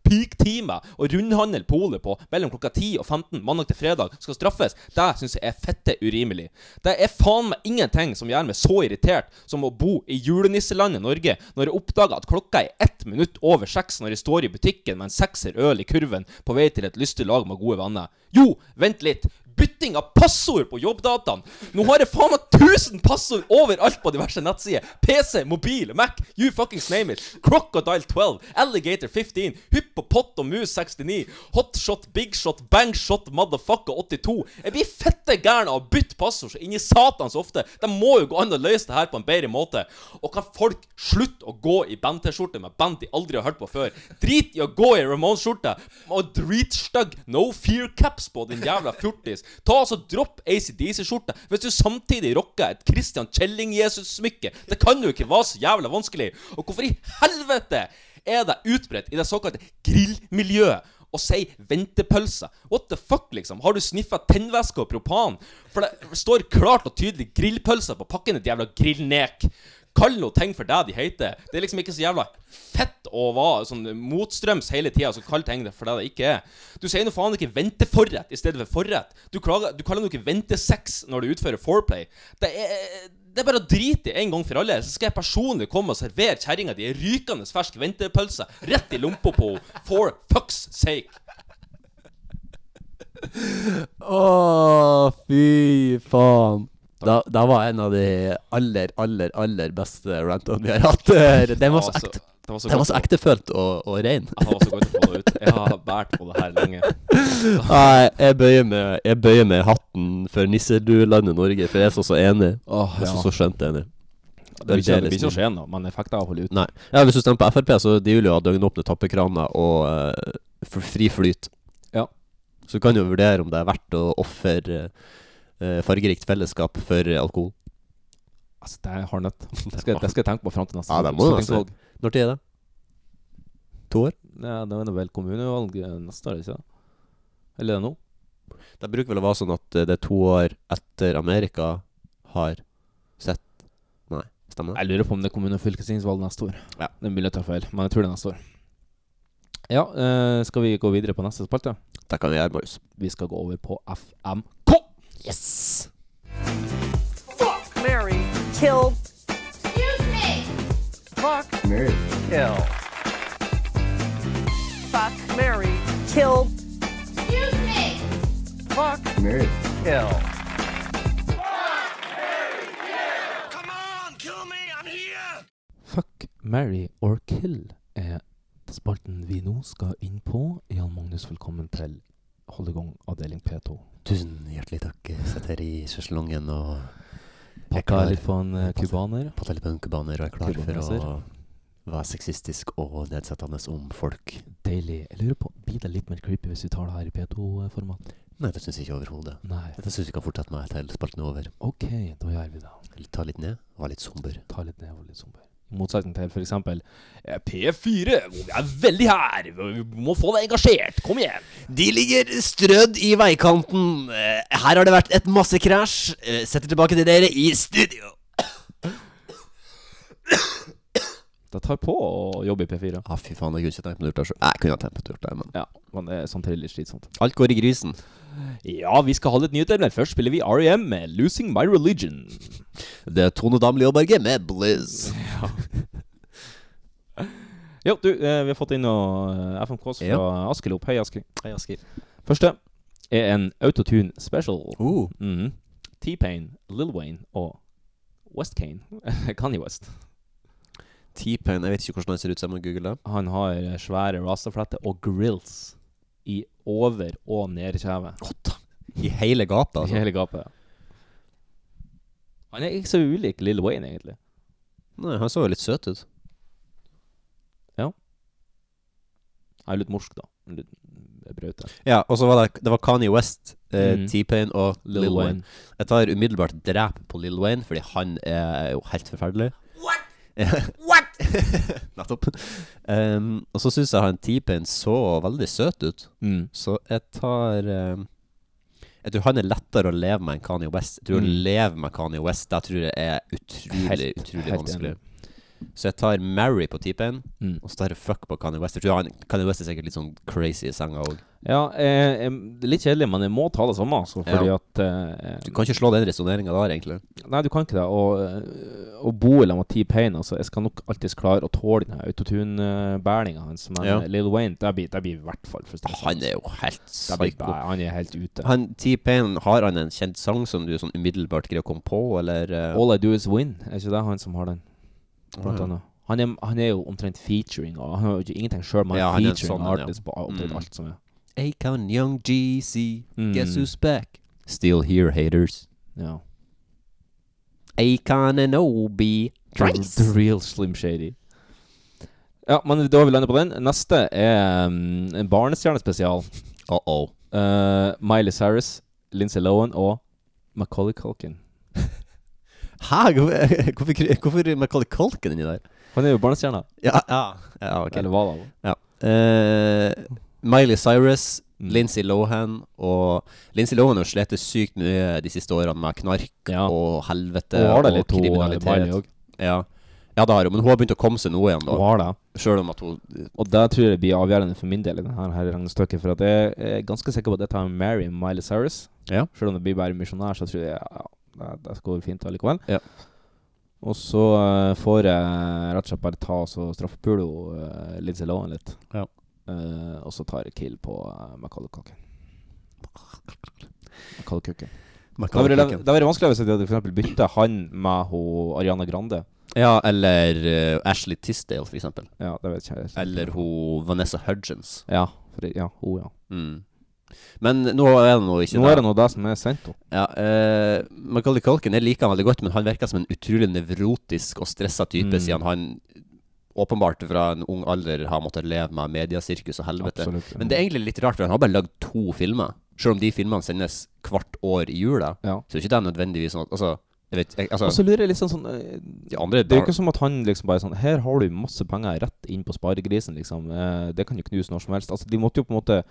off-peak-timer å rundhandle polet på mellom klokka 10 og 15 mandag til fredag, skal straffes, det syns jeg er fette urimelig. Det er faen meg ingenting som gjør meg så irritert som å bo i julenisselandet Norge når jeg oppdager at klokka er ett minutt over seks når jeg står i butikken med en sekser øl i kurven på vei til et lystig lag med gode venner. Jo, vent litt. Bytting av passord på jobbdataen. Nå har jeg faen meg 1000 passord overalt på diverse nettsider. PC, mobil, Mac, you fuckings name it. Crocodile 12, Alligator 15, Hypp på pott og mus 69, Hotshot, Bigshot, Bangshot, Motherfucker 82. Jeg blir fette gæren av å bytte passord så inni satan så ofte. Det må jo gå an å løse det her på en bedre måte. Og kan folk slutte å gå i band-T-skjorte med band de aldri har hørt på før? Drit i å gå i Ramones-skjorte og dritstygg No Fear Caps på, din jævla fjortis. Ta altså Dropp ACDC-skjorta hvis du samtidig rocker et Christian Kjelling-Jesus-smykke. Det kan jo ikke være så jævla vanskelig. Og hvorfor i helvete er det utbredt i det såkalte grillmiljøet å si ventepølse? What the fuck, liksom? Har du sniffa tennvæske og propan? For det står klart og tydelig grillpølser på pakken, ditt jævla grillnek. Kall noe ting for det de heter. Det er liksom ikke så jævla fett å være sånn motstrøms hele tida så kall ting det for det det ikke er. Du sier nå faen ikke venteforrett i stedet for forrett. Du, klager, du kaller nå ikke ventesex når du utfører foreplay. Det er, det er bare å drite i en gang for alle, så skal jeg personlig komme og servere kjerringa di ei rykende fersk ventepølse rett i lompa på henne. For fucks sake. Å, fy faen. Da, da var en av de aller, aller, aller beste rantene vi har hatt. Den var Det var så så- ekte. det var så Den var godt. så ektefølt og, og rein. Jeg har så godt å få det ut. Jeg har båret på det her lenge. Nei, jeg bøyer meg, jeg bøyer meg i hatten for nisseduelandet Norge, for jeg er så så enig. Åh, jeg ja. er så så skjønt enig. Det blir ikke- det blir ikke å Deles- skje noe, men jeg fikk det av å holde ut. Nei. Ja, hvis du stemmer på Frp, så de vil jo ha døgnåpne tappekraner og eh, fr- fri flyt. Ja. Så du kan jo vurdere om det er verdt å ofre eh, fargerikt fellesskap for eh, alkohol. Altså, det er hardnøtt. Det skal, det skal jeg tenke på fram til neste Ja, det må du altså. stortingsvalg. Når tid er det? To år? Ja, det er vel kommunevalg eh, neste år, ikke sant? Eller er det nå? Det bruker vel å være sånn at eh, det er to år etter Amerika har sett Nei, stemmer det? Jeg lurer på om det er kommune- og fylkestingsvalg neste år. Ja. Det er mulig jeg tar feil, men jeg tror det er neste år. Ja, eh, skal vi gå videre på neste spalte? Det kan vi gjøre, Marius. Vi skal gå over på FMK. Yes! Fuck, Mary, kill. Excuse me. Fuck, Mary. kill. Fuck, Mary, kill. Excuse me. Fuck, Mary. kill. Fuck, marry or kill er spalten vi nå skal inn på. Jan Magnus, velkommen til Holdegong avdeling P2. Tusen hjertelig takk. Jeg sitter her i sjeslongen og jeg er Pakka klar- litt på en eh, kubaner. Patta litt på en kubaner og er klar for å Kubaneser. være sexistisk og nedsettende om folk. Deilig. Jeg lurer på, blir det litt mer creepy hvis vi tar det her i P2-format? Nei, det syns jeg ikke overhodet. Nei. Dette syns vi kan fortsette med til spalten er over. Ok, da gjør vi det. Ta litt ned, være litt somber. Ta litt ned og litt somber. I motsetning til f.eks. P4, hvor vi er veldig her. Vi må få deg engasjert. Kom igjen. De ligger strødd i veikanten. Eh, Her har det vært et massekrasj. Eh, Setter tilbake til dere i studio. Det tar på å jobbe i P4. Ja, fy faen, jeg kunne ikke tenkt meg å gjøre det sjøl. Jeg kunne ha tenkt meg å gjøre det, men Ja, men det er samtidig litt sånn slitsomt. alt går i grisen. Ja, vi skal ha litt nyheter, men først spiller vi R.E.M. med 'Losing My Religion'. Det er Tone Damli Aaberge med Blizz. Ja. Jo, du, eh, vi har fått inn noe eh, FMKs fra Ja. Askelop. Hei, Askild. Hei, Askild. Første er en Autotune special. Oh. Mhm. T-Pain, Lil Wayne og West Kane. Kanye West. T-Pain, jeg vet ikke hvordan han ser ut, så jeg må google det. Han har eh, svære rastafletter og grills i over- og nedkjeve. I hele gata, I altså. hele gapet. ja. Han er ikke så ulik Lil Wayne, egentlig. Nei, han så jo litt søt ut. Han er litt morsk, da. Litt eh, braute. Ja, og så var det, det var Kanye West, eh, Mhm. T-Pain og Lil, Lil Wayne. Jeg tar umiddelbart drep på Lil Wayne, fordi han er jo helt forferdelig. What? What? Nettopp. Um, og så syns jeg han T-Pain så veldig søt ut, Mm. så jeg tar um, Jeg tror han er lettere å leve med enn Kanye West. Jeg tror å Mm. leve med Kanye West Det tror jeg er utrolig, Helt- utrolig helt vanskelig. Så jeg tar Mary på T-Pain, Mm. og så tar jeg fuck på Kanye West. Jeg tror han, Kanye West er sikkert litt sånn crazy i senga òg. Ja, eh, em, det er litt kjedelig, men jeg må ta det samme, altså, fordi Ja. at eh, Du kan ikke slå den resonneringa der, egentlig. Nei, du kan ikke det. Og eh, å bo i lag med T-Pain altså, Jeg skal nok alltids klare å tåle den autotune-bæringa hans, men Ja. eh, Lil Wayne Det blir, det blir i hvert fall frustrerende. Han er jo helt Det blir psyko. bæ- Han er helt ute. Han T-Pain, har han en kjent sang som du sånn umiddelbart greier å komme på, eller eh, All I Do Is Win, er ikke det han som har den? Blant Å, ja. annet. Han er, han er jo omtrent featuring og Han har jo ikke ingenting sjøl, men Ja, han han er er en featuring sånn en, ja. artist på omtrent Mm. alt som er. Akon Young GC, guess Mm. who's back? Still here, haters. Ja. Akon and Obi. The real Slim Shady. Ja, men da har vi landet på den. Neste er um, en barnestjernespesial. Uh -oh. Eh, Miley Cyrus, Lindsay Lohan og Macaulay Culkin. Hæ? Hvorfor, hvorfor, hvorfor Macaulay Culkin inni der? Han er jo barnestjerna. Ja, ja, ja ok. Eller hva da? Ja. Eh, Miley Cyrus, Mm. Lindsay Lohan og Lindsay Lohan har slitt sykt mye de siste årene med knark og helvete Og har det og, litt, hun, eh, Miley kriminalitet. også. Ja. ja, det har hun, men hun har begynt å komme seg nå igjen. da Hun har det. Selv om at hun Og det tror jeg det blir avgjørende for min del i denne her regnestykket. For at jeg er ganske sikker på at jeg tar Mary Miley Cyrus. Ja. Selv om det blir bare misjonær, så tror jeg ja, det, det skal gå fint allikevel. Ja. Og så eh, får jeg rett og slett bare ta og så straffepulo uh, Lindsay Lohan litt. Ja. Eh, og så tar jeg kill på uh, Macaulay Culkin. Macaulay Culkin. Det Macaulay hadde vært- Culkin. det hadde vært vanskelig hvis jeg hadde for eksempel bytta han med hun Ariana Grande. Ja, eller eh, Ashley Tisdale, for eksempel. Ja, det vet jeg ikke. Eller hun Vanessa Hudgens. Ja, for, ja, hun, ja. Mm. Men nå er det nå ikke Nå er det nå det som er sendt opp. Ja, eh, Macaulay Culkin jeg liker han veldig godt, men han virker som en utrolig nevrotisk og stressa type, Mm. siden han åpenbart fra en ung alder har måttet leve med mediesirkus og helvete. Absolutt, ja. Men det er egentlig litt rart, for han har bare lagd to filmer. Selv om de filmene sendes hvert år i jula, Ja. så er ikke det nødvendigvis sånn at Altså, jeg vet jeg, altså, Og så lurer jeg litt sånn, sånn eh, De andre Det er jo tar- ikke som at han liksom bare sånn Her har du masse penger rett inn på sparegrisen, liksom. Eh, det kan jo knuse når som helst. Altså, de måtte jo på en måte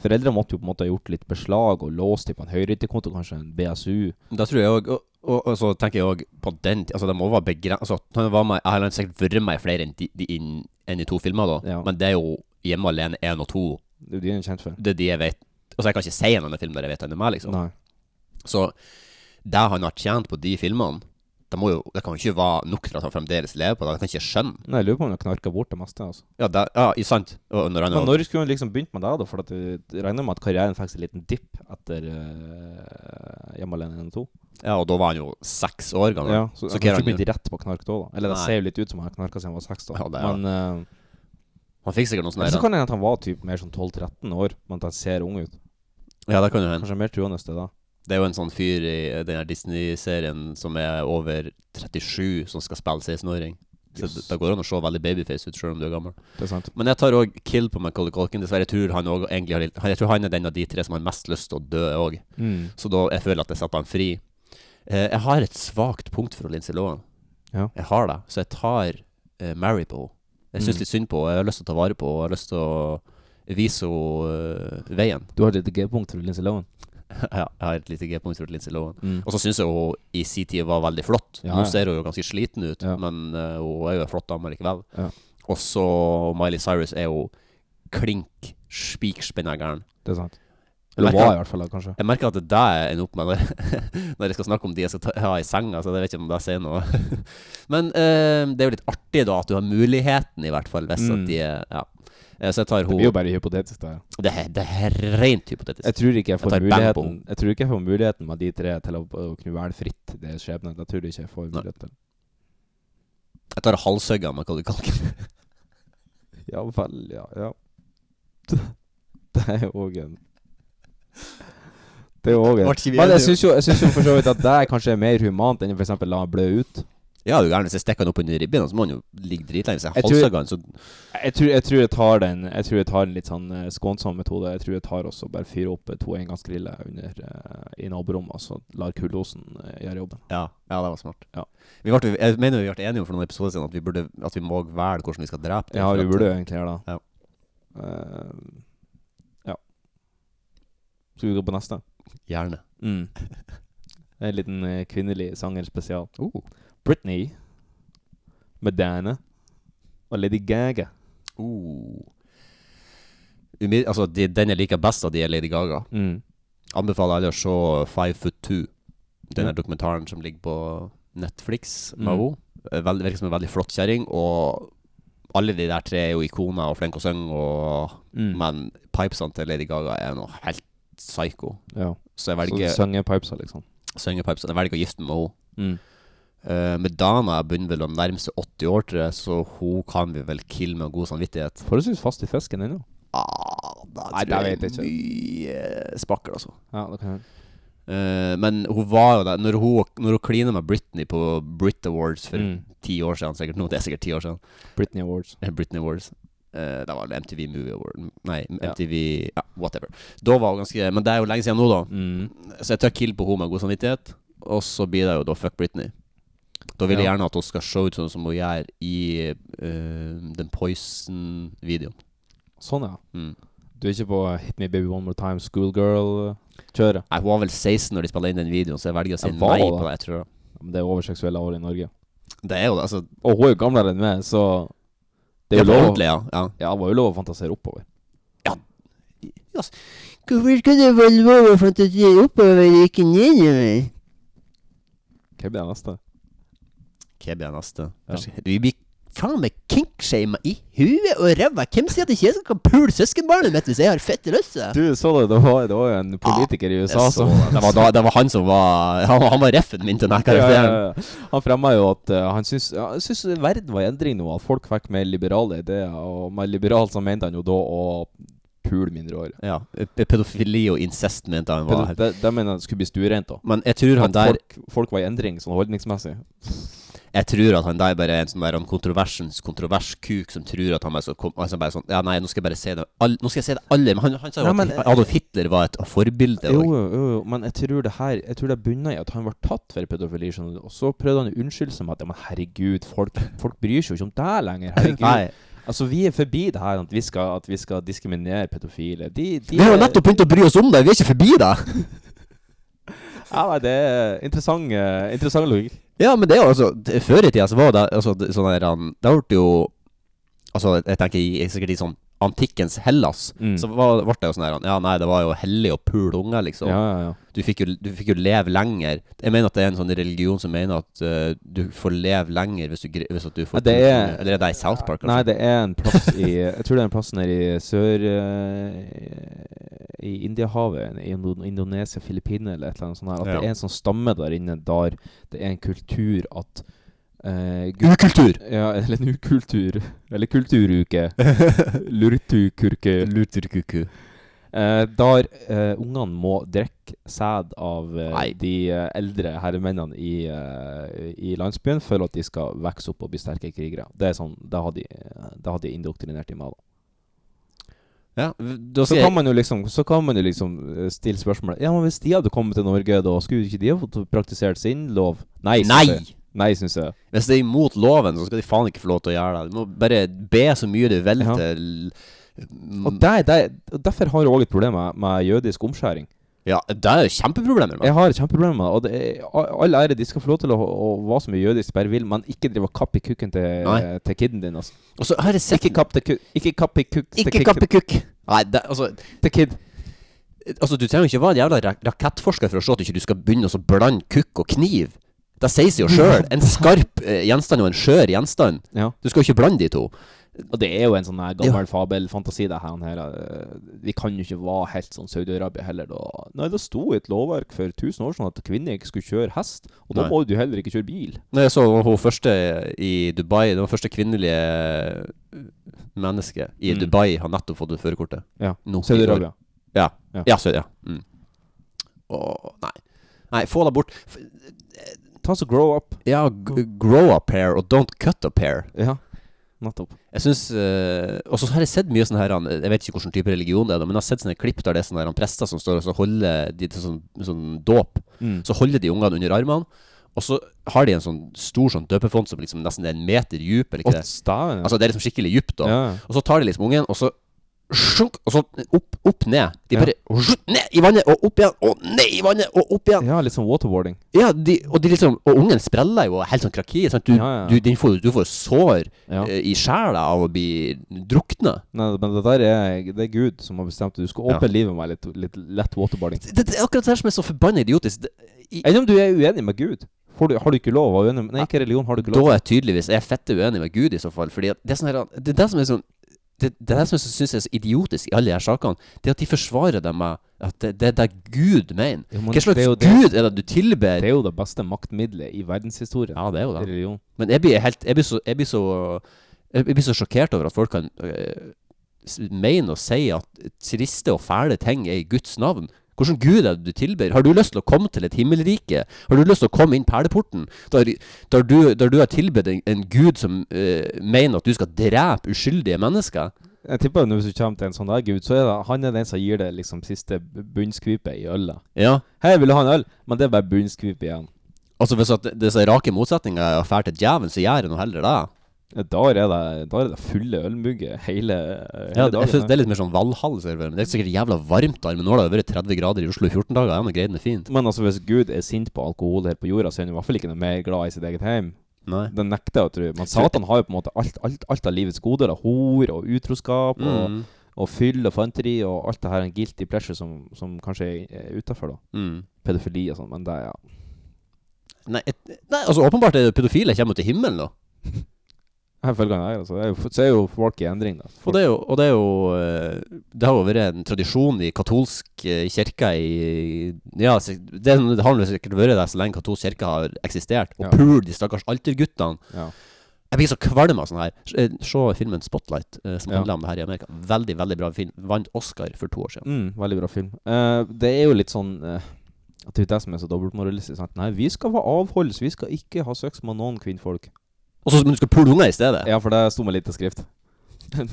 Foreldrene måtte jo på en måte ha gjort litt beslag og låst dem på en høyrytterkonto, kanskje en BSU. Da tror jeg òg og, og, og så tenker jeg òg på den ti- Altså, det må være begrenset altså, Han var med, han har sikkert vært med i flere enn de, de, inn- enn i to filmer, da. Men det er jo Hjemme alene 1 og 2. Det er jo de han er kjent for. Det er de jeg vet Altså, jeg kan ikke si en annen film der jeg vet han er med, liksom. Nei. Så det han har tjent på de filmene, det, må jo, det kan jo ikke være nok til at han fremdeles lever på det. Det kan jeg ikke skjønne. Nei, jeg lurer på om han har knarka bort det meste. altså Ja, det, ja i sant. Og når han Men var- når skulle han liksom begynt med det, da? For at eh, jeg regner med at karrieren fikk seg en liten dipp etter uh, Hjemme alene 1 og 2. Ja, og da var han jo seks år gammel. Ja, så, hva han er har han ikke nå? blitt rett på knark da, da. Eller det Nei. ser jo litt ut som han har knarka siden han var seks, da. Ja, det er Men eh, Han fikk sikkert noe sånn Eller så her- kan det hende at han var typ mer sånn 12-13 år, men at han ser ung ut. Ja, det kan jo hende. Kanskje mer truende til det. Det er jo en sånn fyr i den her Disney-serien som er over 37, som skal spille 16-åring. Så Yes. det, det går an å se veldig babyface ut selv om du er gammel. Det er sant. Men jeg tar òg kill på Macaulay Culkin. Dessverre jeg tror han også egentlig har litt- han- Jeg tror han er den av de tre som har mest lyst til å dø òg. Mm. Så da jeg føler at jeg setter han fri. Eh, jeg har et svakt punkt for Lindsay Lohan. Ja. Jeg har det. Så jeg tar eh, Mary på henne. Jeg syns Mm. litt synd på henne. Jeg har lyst til å ta vare på henne. Jeg har lyst til å vise henne eh, veien. Du har et lite G-punkt for Lindsay Lohan. Ja, jeg har et lite G-punkt rundt Lindsay Lohan. Mm. Og så syns jeg hun i sin tid var veldig flott. Ja, ja. Nå ser hun jo ganske sliten ut, men eh, hun er jo en flott dame likevel. Ja. Og så Miley Cyrus er jo klink spikerspennegæren. Det er sant. Eller var i hvert fall det, kanskje. Jeg merker at det er det jeg ender opp med når, når jeg skal snakke om de jeg skal ta, ha i senga, så jeg vet ikke om det sier noe. Men eh, det er jo litt artig, da, at du har muligheten, i hvert fall, hvis Mm. at de er- Ja. Eh, Så jeg tar Det hun blir jo bare hypotetisk, det. Det, er- det er rent hypotetisk. Jeg tror ikke jeg får tar bang på muligheten henne. Jeg tror ikke jeg får muligheten med de tre til å, å kunne velge fritt deres skjebne. Det tror jeg ikke jeg får mulighet til. Jeg tar halshugga med hva du kaller det. Ja vel, ja. ja. Det er jo òg en Det er jo òg en Ble ikke vi Men jeg enige? syns jo, jeg synes jo for så vidt at det er kanskje mer humant enn f.eks. la han blø ut. Ja, du gærne, hvis jeg stikker han opp under ribbeina, så må han jo ligge dritlenge. Så jeg Jeg tror- halshugger han, så Jeg tror jeg, tror jeg tar den Jeg tror jeg tar en litt sånn eh, skånsom metode. Jeg tror jeg tar også bare fyrer opp eh, to engangsgriller under eh, i naborommet, og så lar kuldosen eh, gjøre jobben. Ja, ja det var smart. Vi ble, jeg mener vi ble enige om for noen episoder siden at vi, burde, at vi må velge hvordan vi skal drepe det, Ja, for vi at- burde jo egentlig gjøre det. Eh, Ja. ja. Skal vi gå på neste? Gjerne. Mm. En liten eh, kvinnelig sanger spesial. Oh. Britney, Madonna og Lady Gaga. Oh. Umi- altså, de, den jeg liker best av de er Lady Gaga. Mm. Anbefaler alle å se Five Foot Two, den Ja. der dokumentaren som ligger på Netflix med Mm. henne. Veld- Virker som en veldig flott kjerring. Og alle de der tre er jo ikoner og flinke å synge, og, Mm. men pipesene til Lady Gaga er noe helt psycho. Ja. Så Så jeg velger synger pipesa, liksom. syngepipesene. Jeg velger å gifte meg med henne. Mm. Eh, Madonna begynner vel å nærme seg 80 år, tror jeg, så hun kan vi vel kille med god samvittighet. Forholdsvis fast i fisken ennå. Ah, da Nei, tror det jeg vet jeg mye spakkel, altså. Ja, det kan jeg. Eh, men hun var jo der Når hun, når hun klina med Britney på Brit Awards for Mm. ti år siden, sikkert nå, det er sikkert ti år siden Britney Awards. Eh, Britney Awards. Eh, det var vel MTV Movie Award Nei, MTV ja. whatever. Da var hun ganske Men det er jo lenge siden nå, da. Mm. Så jeg tør kill på henne med god samvittighet. Og så blir det jo da fuck Britney. Da vil jeg Ja. gjerne at hun skal se ut sånn som hun gjør i eh, den Poison-videoen. Sånn, ja. Mm. Du er ikke på Hit Me Baby One More Time, eh, Schoolgirl-kjøret? Nei, Hun var vel 16 når de spilte inn den videoen, så jeg velger å si Ja, var nei hun på det? det. jeg tror Men det er over seksuelle år i Norge. Det er jo det, altså. Og hun er jo gamlere enn meg, så Ja, på å- ordentlig, ja. Ja. Ja, det var jo lov å fantasere oppover. Hvorfor skal det være lov å fantasere oppover og ikke nedover? Hva blir det neste? Hva blir det neste? Vi blir faen meg kinkshama i huet og ræva. Hvem sier at ikke jeg skal pule søskenbarnet mitt hvis jeg har fett lyst? Du, så du, det var, det var jo en politiker i USA jeg så som det. Det var da- det var han som var Han, han var reffen min til denne Ja, karakteren. ja, ja. Han fremma jo at eh, han syns, ja, han syns verden var i endring nå. At folk fikk mer liberale ideer. Og med liberal så mente han jo da å pule mindreårige. Ja. p- Pedofili og incest mente han var Det, det, det mener jeg skulle bli stuerent, da. Men jeg tror han at der folk, folk var i endring sånn holdningsmessig. Jeg tror at han der bare er en sånn der han kontroversens kontroverskuk som tror at han bare skal komme altså bare sånn Ja, nei, nå skal jeg bare si det all, Nå skal jeg si det aller Men han, han sa jo Nei, men- at Adolf Hitler var et forbilde. Jo, og- jo, jo, jo, men jeg tror det her Jeg tror det bunner i at han ble tatt for pedofili, skjønner du. Og så prøvde han å unnskylde seg med at ja, men herregud, folk, folk bryr seg jo ikke om deg lenger. Herregud. Nei. Altså, vi er forbi det her at vi skal, at vi skal diskriminere pedofile. De, de Vi har jo er- nettopp begynt å bry oss om deg! Vi er ikke forbi deg! Ja, nei, det er interessant, eh, interessant logikk. Ja, men det er jo altså det- Før i tida så var det altså, det- sånn der han- Det ble jo Altså, jeg tenker i, sikkert i sånn antikkens Hellas, Mm. så var, ble det jo sånn her han, Ja, nei, det var jo hellig å pule unger, liksom. Ja, ja, ja. Du, fikk jo, du fikk jo leve lenger. Jeg mener at det er en sånn religion som mener at eh, du får leve lenger hvis du, gre- hvis at du Ja, får det er- Eller er det i South Park, Nei, kanskje? det er en plass i Jeg tror det er en plass nede i sør eh, I Indiahavet, i Indo- Indonesia, Filippinene eller et eller annet sånt her, at Ja. det er en sånn stamme der inne der det er en kultur at eh, gutt- Ukultur! Ja, eller en ukultur. Eller kulturuke. Lurtukurke. Lurtukuku. Eh, der eh, ungene må drikke sæd av eh, de eh, eldre herremennene i, eh, i landsbyen for at de skal vokse opp og bli sterke krigere. Det er sånn, det har de, det har de indoktrinert i meg. da. Ja, da Så skal jeg kan man jo liksom, så kan man jo liksom eh, stille spørsmålet Ja, men hvis de hadde kommet til Norge, da skulle ikke de ha fått praktisert sin lov? Nei! synes Nei! jeg. Nei, syns jeg. Hvis det er imot loven, så skal de faen ikke få lov til å gjøre det. Du må bare be så mye du vil Ja. til Og der, der, og derfor har jeg òg et problem med, med jødisk omskjæring. Ja, det er jo kjempeproblemer. Jeg har et kjempeproblem med det. Og det er, all ære, de skal få lov til å, å hva som er jødisk de bare vil, men ikke drive og kappe i kukken til, Nei. til kiden din. Altså. Og så har jeg sett Ikke kapp til kuk Ikke kapp i kuk til Ikke kikken. kappe kukk! Nei, det, altså Til kid. Altså, du trenger ikke være en jævla ra- rakettforsker for å se at du ikke du skal begynne å så blande kukk og kniv. Det sies jo sjøl. En skarp eh, gjenstand og en skjør gjenstand. Du skal jo ikke blande de to. Og det er jo en sånn her gammel fabelfantasi, det her. han her. eh, Vi kan jo ikke være helt sånn Saudi-Arabia heller. Da. Nei, det sto i et lovverk for 1000 år siden at kvinner ikke skulle kjøre hest, og da Nei. må du heller ikke kjøre bil. Nei, jeg så hun første i Dubai Det var første kvinnelige eh, menneske i Mm. Dubai har nettopp fått førerkortet. Ja. Nå, i Saudi-Arabia. år. Ja. Ja. Ja, Saudi-Arabia. Mm. Åh, nei. Nei, få deg bort. F- Ta så grow up. Ja, g grow a pair og don't cut a pair. Ja, nettopp. Jeg synes, eh, Og så har jeg sett mye sånn her han- Jeg vet ikke hvilken type religion det er, da, men jeg har sett sånne klipp der det er sånne her, han prester som står og så holder de til sånn, sånn dåp. Mm. Så holder de ungene under armene, og så har de en sånn stor sånn døpefont som liksom nesten er en meter dyp. Eller Å, ikke det? staven, ja. Altså det er liksom skikkelig dypt. da Ja, ja. Og så tar de liksom ungen, og så sjunk, og så opp, opp ned. De Ja. bare sjunk, ned i vannet, og opp igjen, og ned i vannet, og opp igjen. Ja, litt sånn waterboarding. Ja, de, og, de liksom, og ungen spreller jo og er helt sånn krakki. Sant? Du, Ja, ja. Du, den får, du får sår Ja. eh, i sjela av å bli drukna. Nei, men det der er, det er Gud som har bestemt det. Du skal åpne Ja. livet med litt, litt lett waterboarding. Det, det er akkurat det her som er så forbanna idiotisk. Det, Enn om du er uenig med Gud? Får du, har du ikke lov å være uenig med Nei, ikke religion, har du ikke da lov? er jeg tydeligvis jeg er fette uenig med Gud i så fall. Fordi at det, er sånn her, det er det som er sånn det, det er det som jeg syns er så idiotisk i alle de her sakene, det er at de forsvarer det med at det, det er det Gud mener. men Hva det er slags jo det- Gud er det du tilber? Det er jo det beste maktmiddelet i verdenshistorien. Ja, det er jo det. Religion. Men jeg blir helt Jeg blir så Jeg blir så, jeg blir så sjokkert over at folk kan øh, s- mene og si at triste og fæle ting er i Guds navn. Hvilken gud er det du tilber? Har du lyst til å komme til et himmelrike? Har du lyst til å komme inn perleporten? Der, der, du, der du har tilbedt en, en gud som øh, mener at du skal drepe uskyldige mennesker? Jeg tipper at hvis du kommer til en sånn der Gud, så er det han er den som gir deg liksom siste bunnskvipet i ølet. Ja. Hei, vil du ha en øl? Men det er bare bunnskvip igjen. Altså Hvis at disse rake motsetningene er fæle til djevelen, så gjør jeg nå heller det. Ja, Da er det, da er det fulle ølmugger hele, hele Ja, det, dagen. jeg synes det er litt mer sånn Valhall-server. Men Det er sikkert jævla varmt der, men nå har det jo vært 30 grader i Oslo i 14 dager. Ja, men greien er fin. Men altså, hvis Gud er sint på alkohol her på jorda, så er han i hvert fall ikke noe mer glad i sitt eget hjem. Nei. Det nekter jeg å tro. Men Satan har jo på en måte alt, alt, alt av livets goder. Da. Hor og utroskap og, Mm. og fyll og fanteri og alt det her en guilty pleasure som, som kanskje er utafor, da. Mm. Pedofili og sånn, men det, ja. Nei, et, nei, altså åpenbart er det pedofile kommer jo til himmelen, da. Her følger han her, altså. Det er jo, så er jo folk i endring, da. Og det er jo, og det, er jo eh, det har jo vært en tradisjon i katolsk eh, kirke i Ja, si- det, er- det har vel sikkert vært der så lenge katolsk kirke har eksistert. Og Ja. pul de stakkars alterguttene. Ja. Jeg blir så kvalm av sånn her. S- eh, Se filmen 'Spotlight', eh, som Ja. handler om det her i Amerika. Veldig, veldig bra film. Vant Oscar for to år siden. Mm, veldig bra film. Eh, det er jo litt sånn eh, at det er jo det som er så dobbeltmoralistisk. sant? Nei, vi skal være avholds, vi skal ikke ha sex med noen kvinnfolk. Og så, men du skal pule unger i stedet? Ja, for det sto med lite skrift.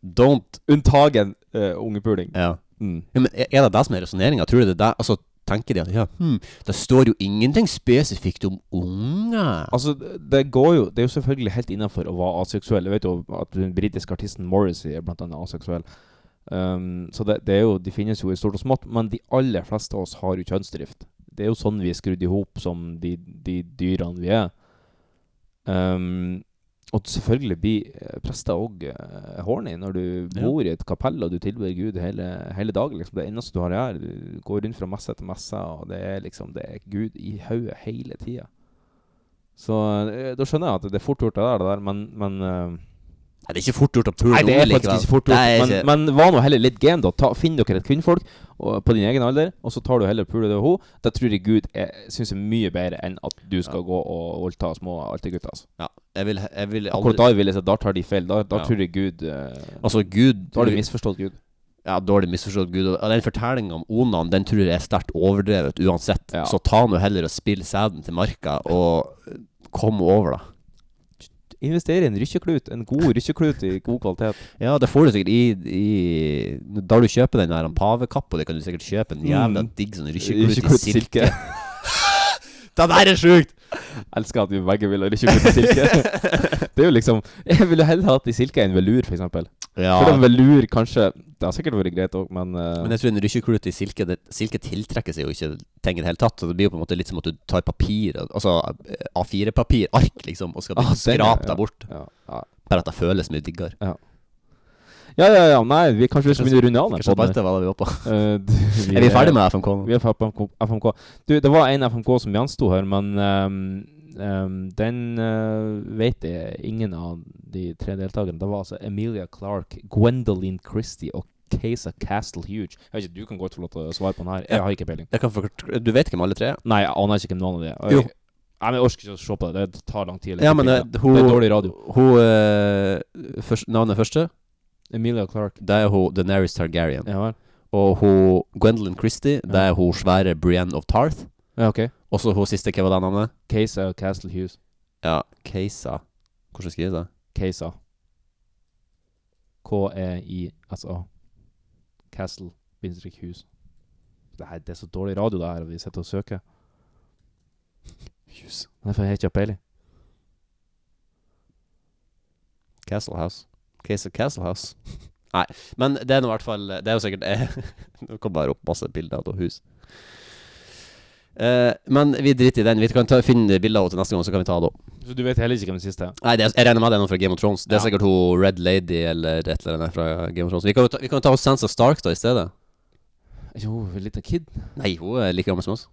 Don't Unntagen eh, ungepuling. Ja. Mm. ja men er- er det det som er resonneringa? Tror du det er det? Altså, tenker de at ja, hm, det står jo ingenting spesifikt om unger? Altså, det går jo Det er jo selvfølgelig helt innafor å være aseksuell. Jeg vet jo at den britiske artisten Morrissey er blant annet aseksuell. Um, så det, det er jo De finnes jo i stort og smått, men de aller fleste av oss har jo kjønnsdrift. Det er jo sånn vi er skrudd i hop som de, de dyrene vi er. Um, og selvfølgelig blir eh, prester òg uh, horny når du Ja. bor i et kapell og du tilber Gud hele, hele dagen. Liksom. Det eneste du har her, du går rundt fra messe til messe, og det er liksom Det er Gud i hodet hele tida. Så eh, da skjønner jeg at det er fort gjort, det der, det der men, men eh, Nei, det er ikke fort gjort å pule Nei, det er unger faktisk likevel. ikke fort Det er gjort. ikke- Men, men var nå heller litt gen, da. Ta, finn dere et kvinnfolk og, på din egen alder, og så tar du heller pule det og hun. Det tror jeg Gud er- synes er mye bedre enn at du skal gå og voldta små altergutter. Altså. Ja, jeg vil, jeg vil Akkurat aldri da vil jeg si sånn, da tar de feil. Da, da Ja. tror jeg Gud eh, Altså, Gud Da har de misforstått Gud. Ja, dårlig misforstått Gud. Og den fortellinga om Onan, den tror jeg er sterkt overdrevet uansett. Ja. Så ta nå heller og spill sæden til marka, og kom over, da. Investere i en rykkeklut. En god rykkeklut i god kvalitet. Ja, det får du sikkert i, i Da du kjøper den der pavekappa, det kan du sikkert kjøpe en jævla Mm. digg sånn rykkeklut i Rykkeklut i silke. det der er sjukt! Elsker at vi begge vil ha rykkeklut i silke. det er jo liksom Jeg ville heller hatt i silke enn velur, f.eks. eksempel Ja. For en velur kanskje Det har sikkert vært greit òg, men, eh, Men jeg tror en rykkeklut i silke det, Silke tiltrekker seg jo ikke ting i det hele tatt. Så det blir jo på en måte litt som at du tar papir, altså eh, A4-papir, ark, liksom, og skal Ah, begynne å den, ja, skrape ja. deg bort. Ja, ja. Bare at det føles mye diggere. Ja. Ja, ja, ja. Nei, vi kanskje vi skal begynne å runde av den Hvilken podden. spalte var det vi var på? Eh, du, Er vi ferdig med FMK nå? Vi er ferdig med FMK. FMK. Du, det var en FMK som Jan sto her, men ehm, ehm, den eh, vet jeg ingen av de tre deltakerne. Det var altså Emilia Clark, Gwendoline Christie og Kesa Castle Huge. Jeg vet ikke, Du kan godt få lov til å svare på den her. Jeg har ikke peiling. Jeg kan forklare Du vet hvem alle tre er? Nei, jeg aner ikke hvem noen av de er. Og Jo. Jeg, Nei, men jeg orker ikke å se på det. Det tar lang tid. å Ja, men legge eh, opp i det. hun det er dårlig radio. Hun eh, først, Navnet første? Emilia Clark. Det er hun Daenerys Targaryen. Ja, vel. Og hun Gwendolyn Christie, det er hun svære Brienne of Tarth. Ja, ok. Og så hun siste, hva var det navnet? Kesa Castle Hughes. Ja, Keisa. Hvordan skrives det? Kesa. E K-e-i-s-a. Castle. Bindstrykk hus. Det, her, det er så dårlig radio, det her, og vi sitter og søker. Hughes. Nei, for jeg har ikke peiling. Castle House. Keisa Castle House. Nei, men det er nå i hvert fall Det er jo sikkert Det kom bare opp masse bilder av hus. Eh, men vi driter i den. Vi kan ta, finne bilder av henne til neste gang, så kan vi ta det opp. Så du vet heller ikke hvem den siste er? Nei, det er, jeg regner med det er noen fra Game of Thrones. Det er Ja. sikkert hun Red Lady eller et eller annet fra Game of Thrones. Vi kan jo ta, vi kan jo ta hos Sansa Stark da i stedet. Jo, en liten kid. Nei, hun er like gammel som oss.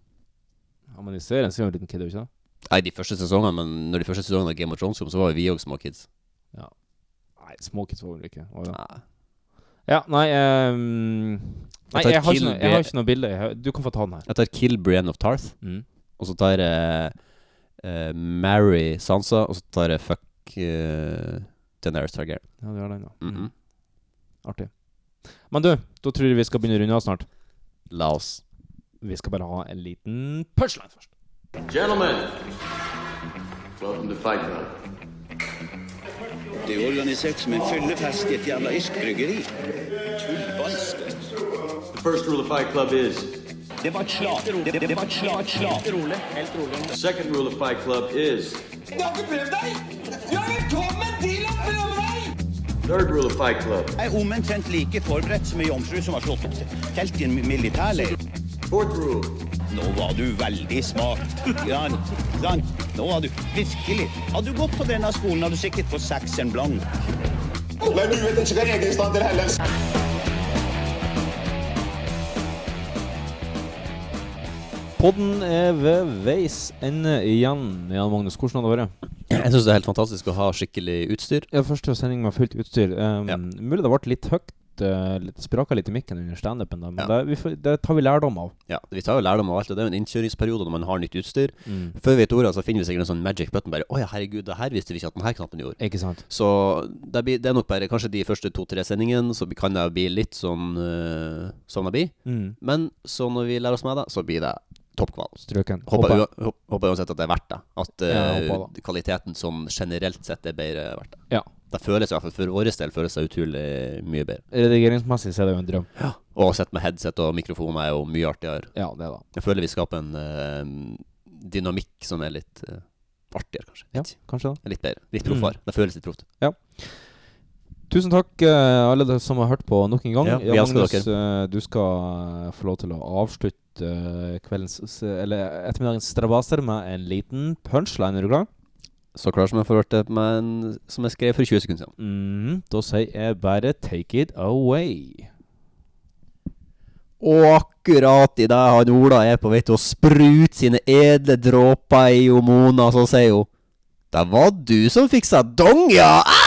Ja, men i serien ser jo en liten kid, er hun ikke det? Nei, de første sesongene, men når de første sesongene av Game of Thrones kom, så var jo vi òg små kids. Nei, små kids var hun ikke. var hun? Ja, nei ehm, Nei, Jeg tar jeg har, ikke Kill noe, jeg har Bill- ikke noe bilde. Jeg har- Du kan få ta den her. Jeg tar Kill Brienne of Tarth, Mm. og så tar jeg eh, Marry Sansa, og så tar jeg Fuck eh, Daenerys Targaryen. Ja, du har den, ja. Mm. Mhm. Artig. Men du, da tror jeg vi skal begynne å runde av snart. La oss. Vi skal bare ha en liten punchline først. Gentlemen, welcome to Fight Club. Det er jo organisert som en fyllefest i et jævla irsk bryggeri. The first rule of Fight Club is. Det var et slag. Det, det var et slag. Et slag. The second rule of Fight Club is. Jeg har ikke prøvd deg! Du er velkommen til å prøve deg! Third rule of Fight Club. Jeg er omtrent like forberedt som ei jomfru som har slått opp til telt i en militærleir. Nå var du veldig smart. Ja, sant? Nå var du virkelig Hadde du gått på denne skolen, hadde du sikkert fått sekseren blank. Nei, du vet ikke hva egen stand til Hellas. Podden er ved veis ende igjen. Jan Magnus, hvordan har det vært? Jeg syns det er helt fantastisk å ha skikkelig utstyr. Ja, første sending med fullt utstyr. Um, Mulig det ble litt høyt. eh, litt- Spraka litt i mikken under standupen, da, men det, vi, får- det tar vi lærdom av. Ja, Vi tar jo lærdom av alt. og Det er jo en innkjøringsperiode når man har nytt utstyr. Mm. Før vi vet ordet, så finner vi sikkert en sånn magic button. Bare 'Å ja, herregud, det her visste vi ikke at denne knappen gjorde'. Ikke sant? Så det, blir, det er nok bare kanskje de første to-tre sendingene, så kan det bli litt sånn øh, sånn det blir. Mm. Men så når vi lærer oss med det, så blir det toppkval. Strøken. Håper, Håper. ua- håp- håper uansett at det er verdt det. At Ja, jeg øh, håper kvaliteten sånn generelt sett er bedre verdt det. Ja. Det føles i hvert fall for vår del føles det utrolig mye bedre. Redigeringsmessig så er det jo en drøm. Og å sitte med headset og mikrofon er jo mye artigere. Ja, det da. Jeg føler vi skaper en eh, dynamikk som er litt eh, artigere, kanskje. Ja, kanskje det. Litt bedre. Litt proffere. Det føles litt proft. Ja. Tusen takk, eh, alle dere som har hørt på nok en gang. Ja, vi elsker dere. Du skal eh, få lov til å avslutte eh, kveldens s- Eller eh, ettermiddagens strabaser med en liten punchline. Er du klar? Så klar som jeg får hørt det med en som jeg skrev for 20 sekunder siden. Mm-hmm. Mm, da sier jeg bare 'take it away'. Og akkurat idet han Ola er på vei til å sprute sine edle dråper i Mona, så sier hun Det var du som fiksa dong, ja!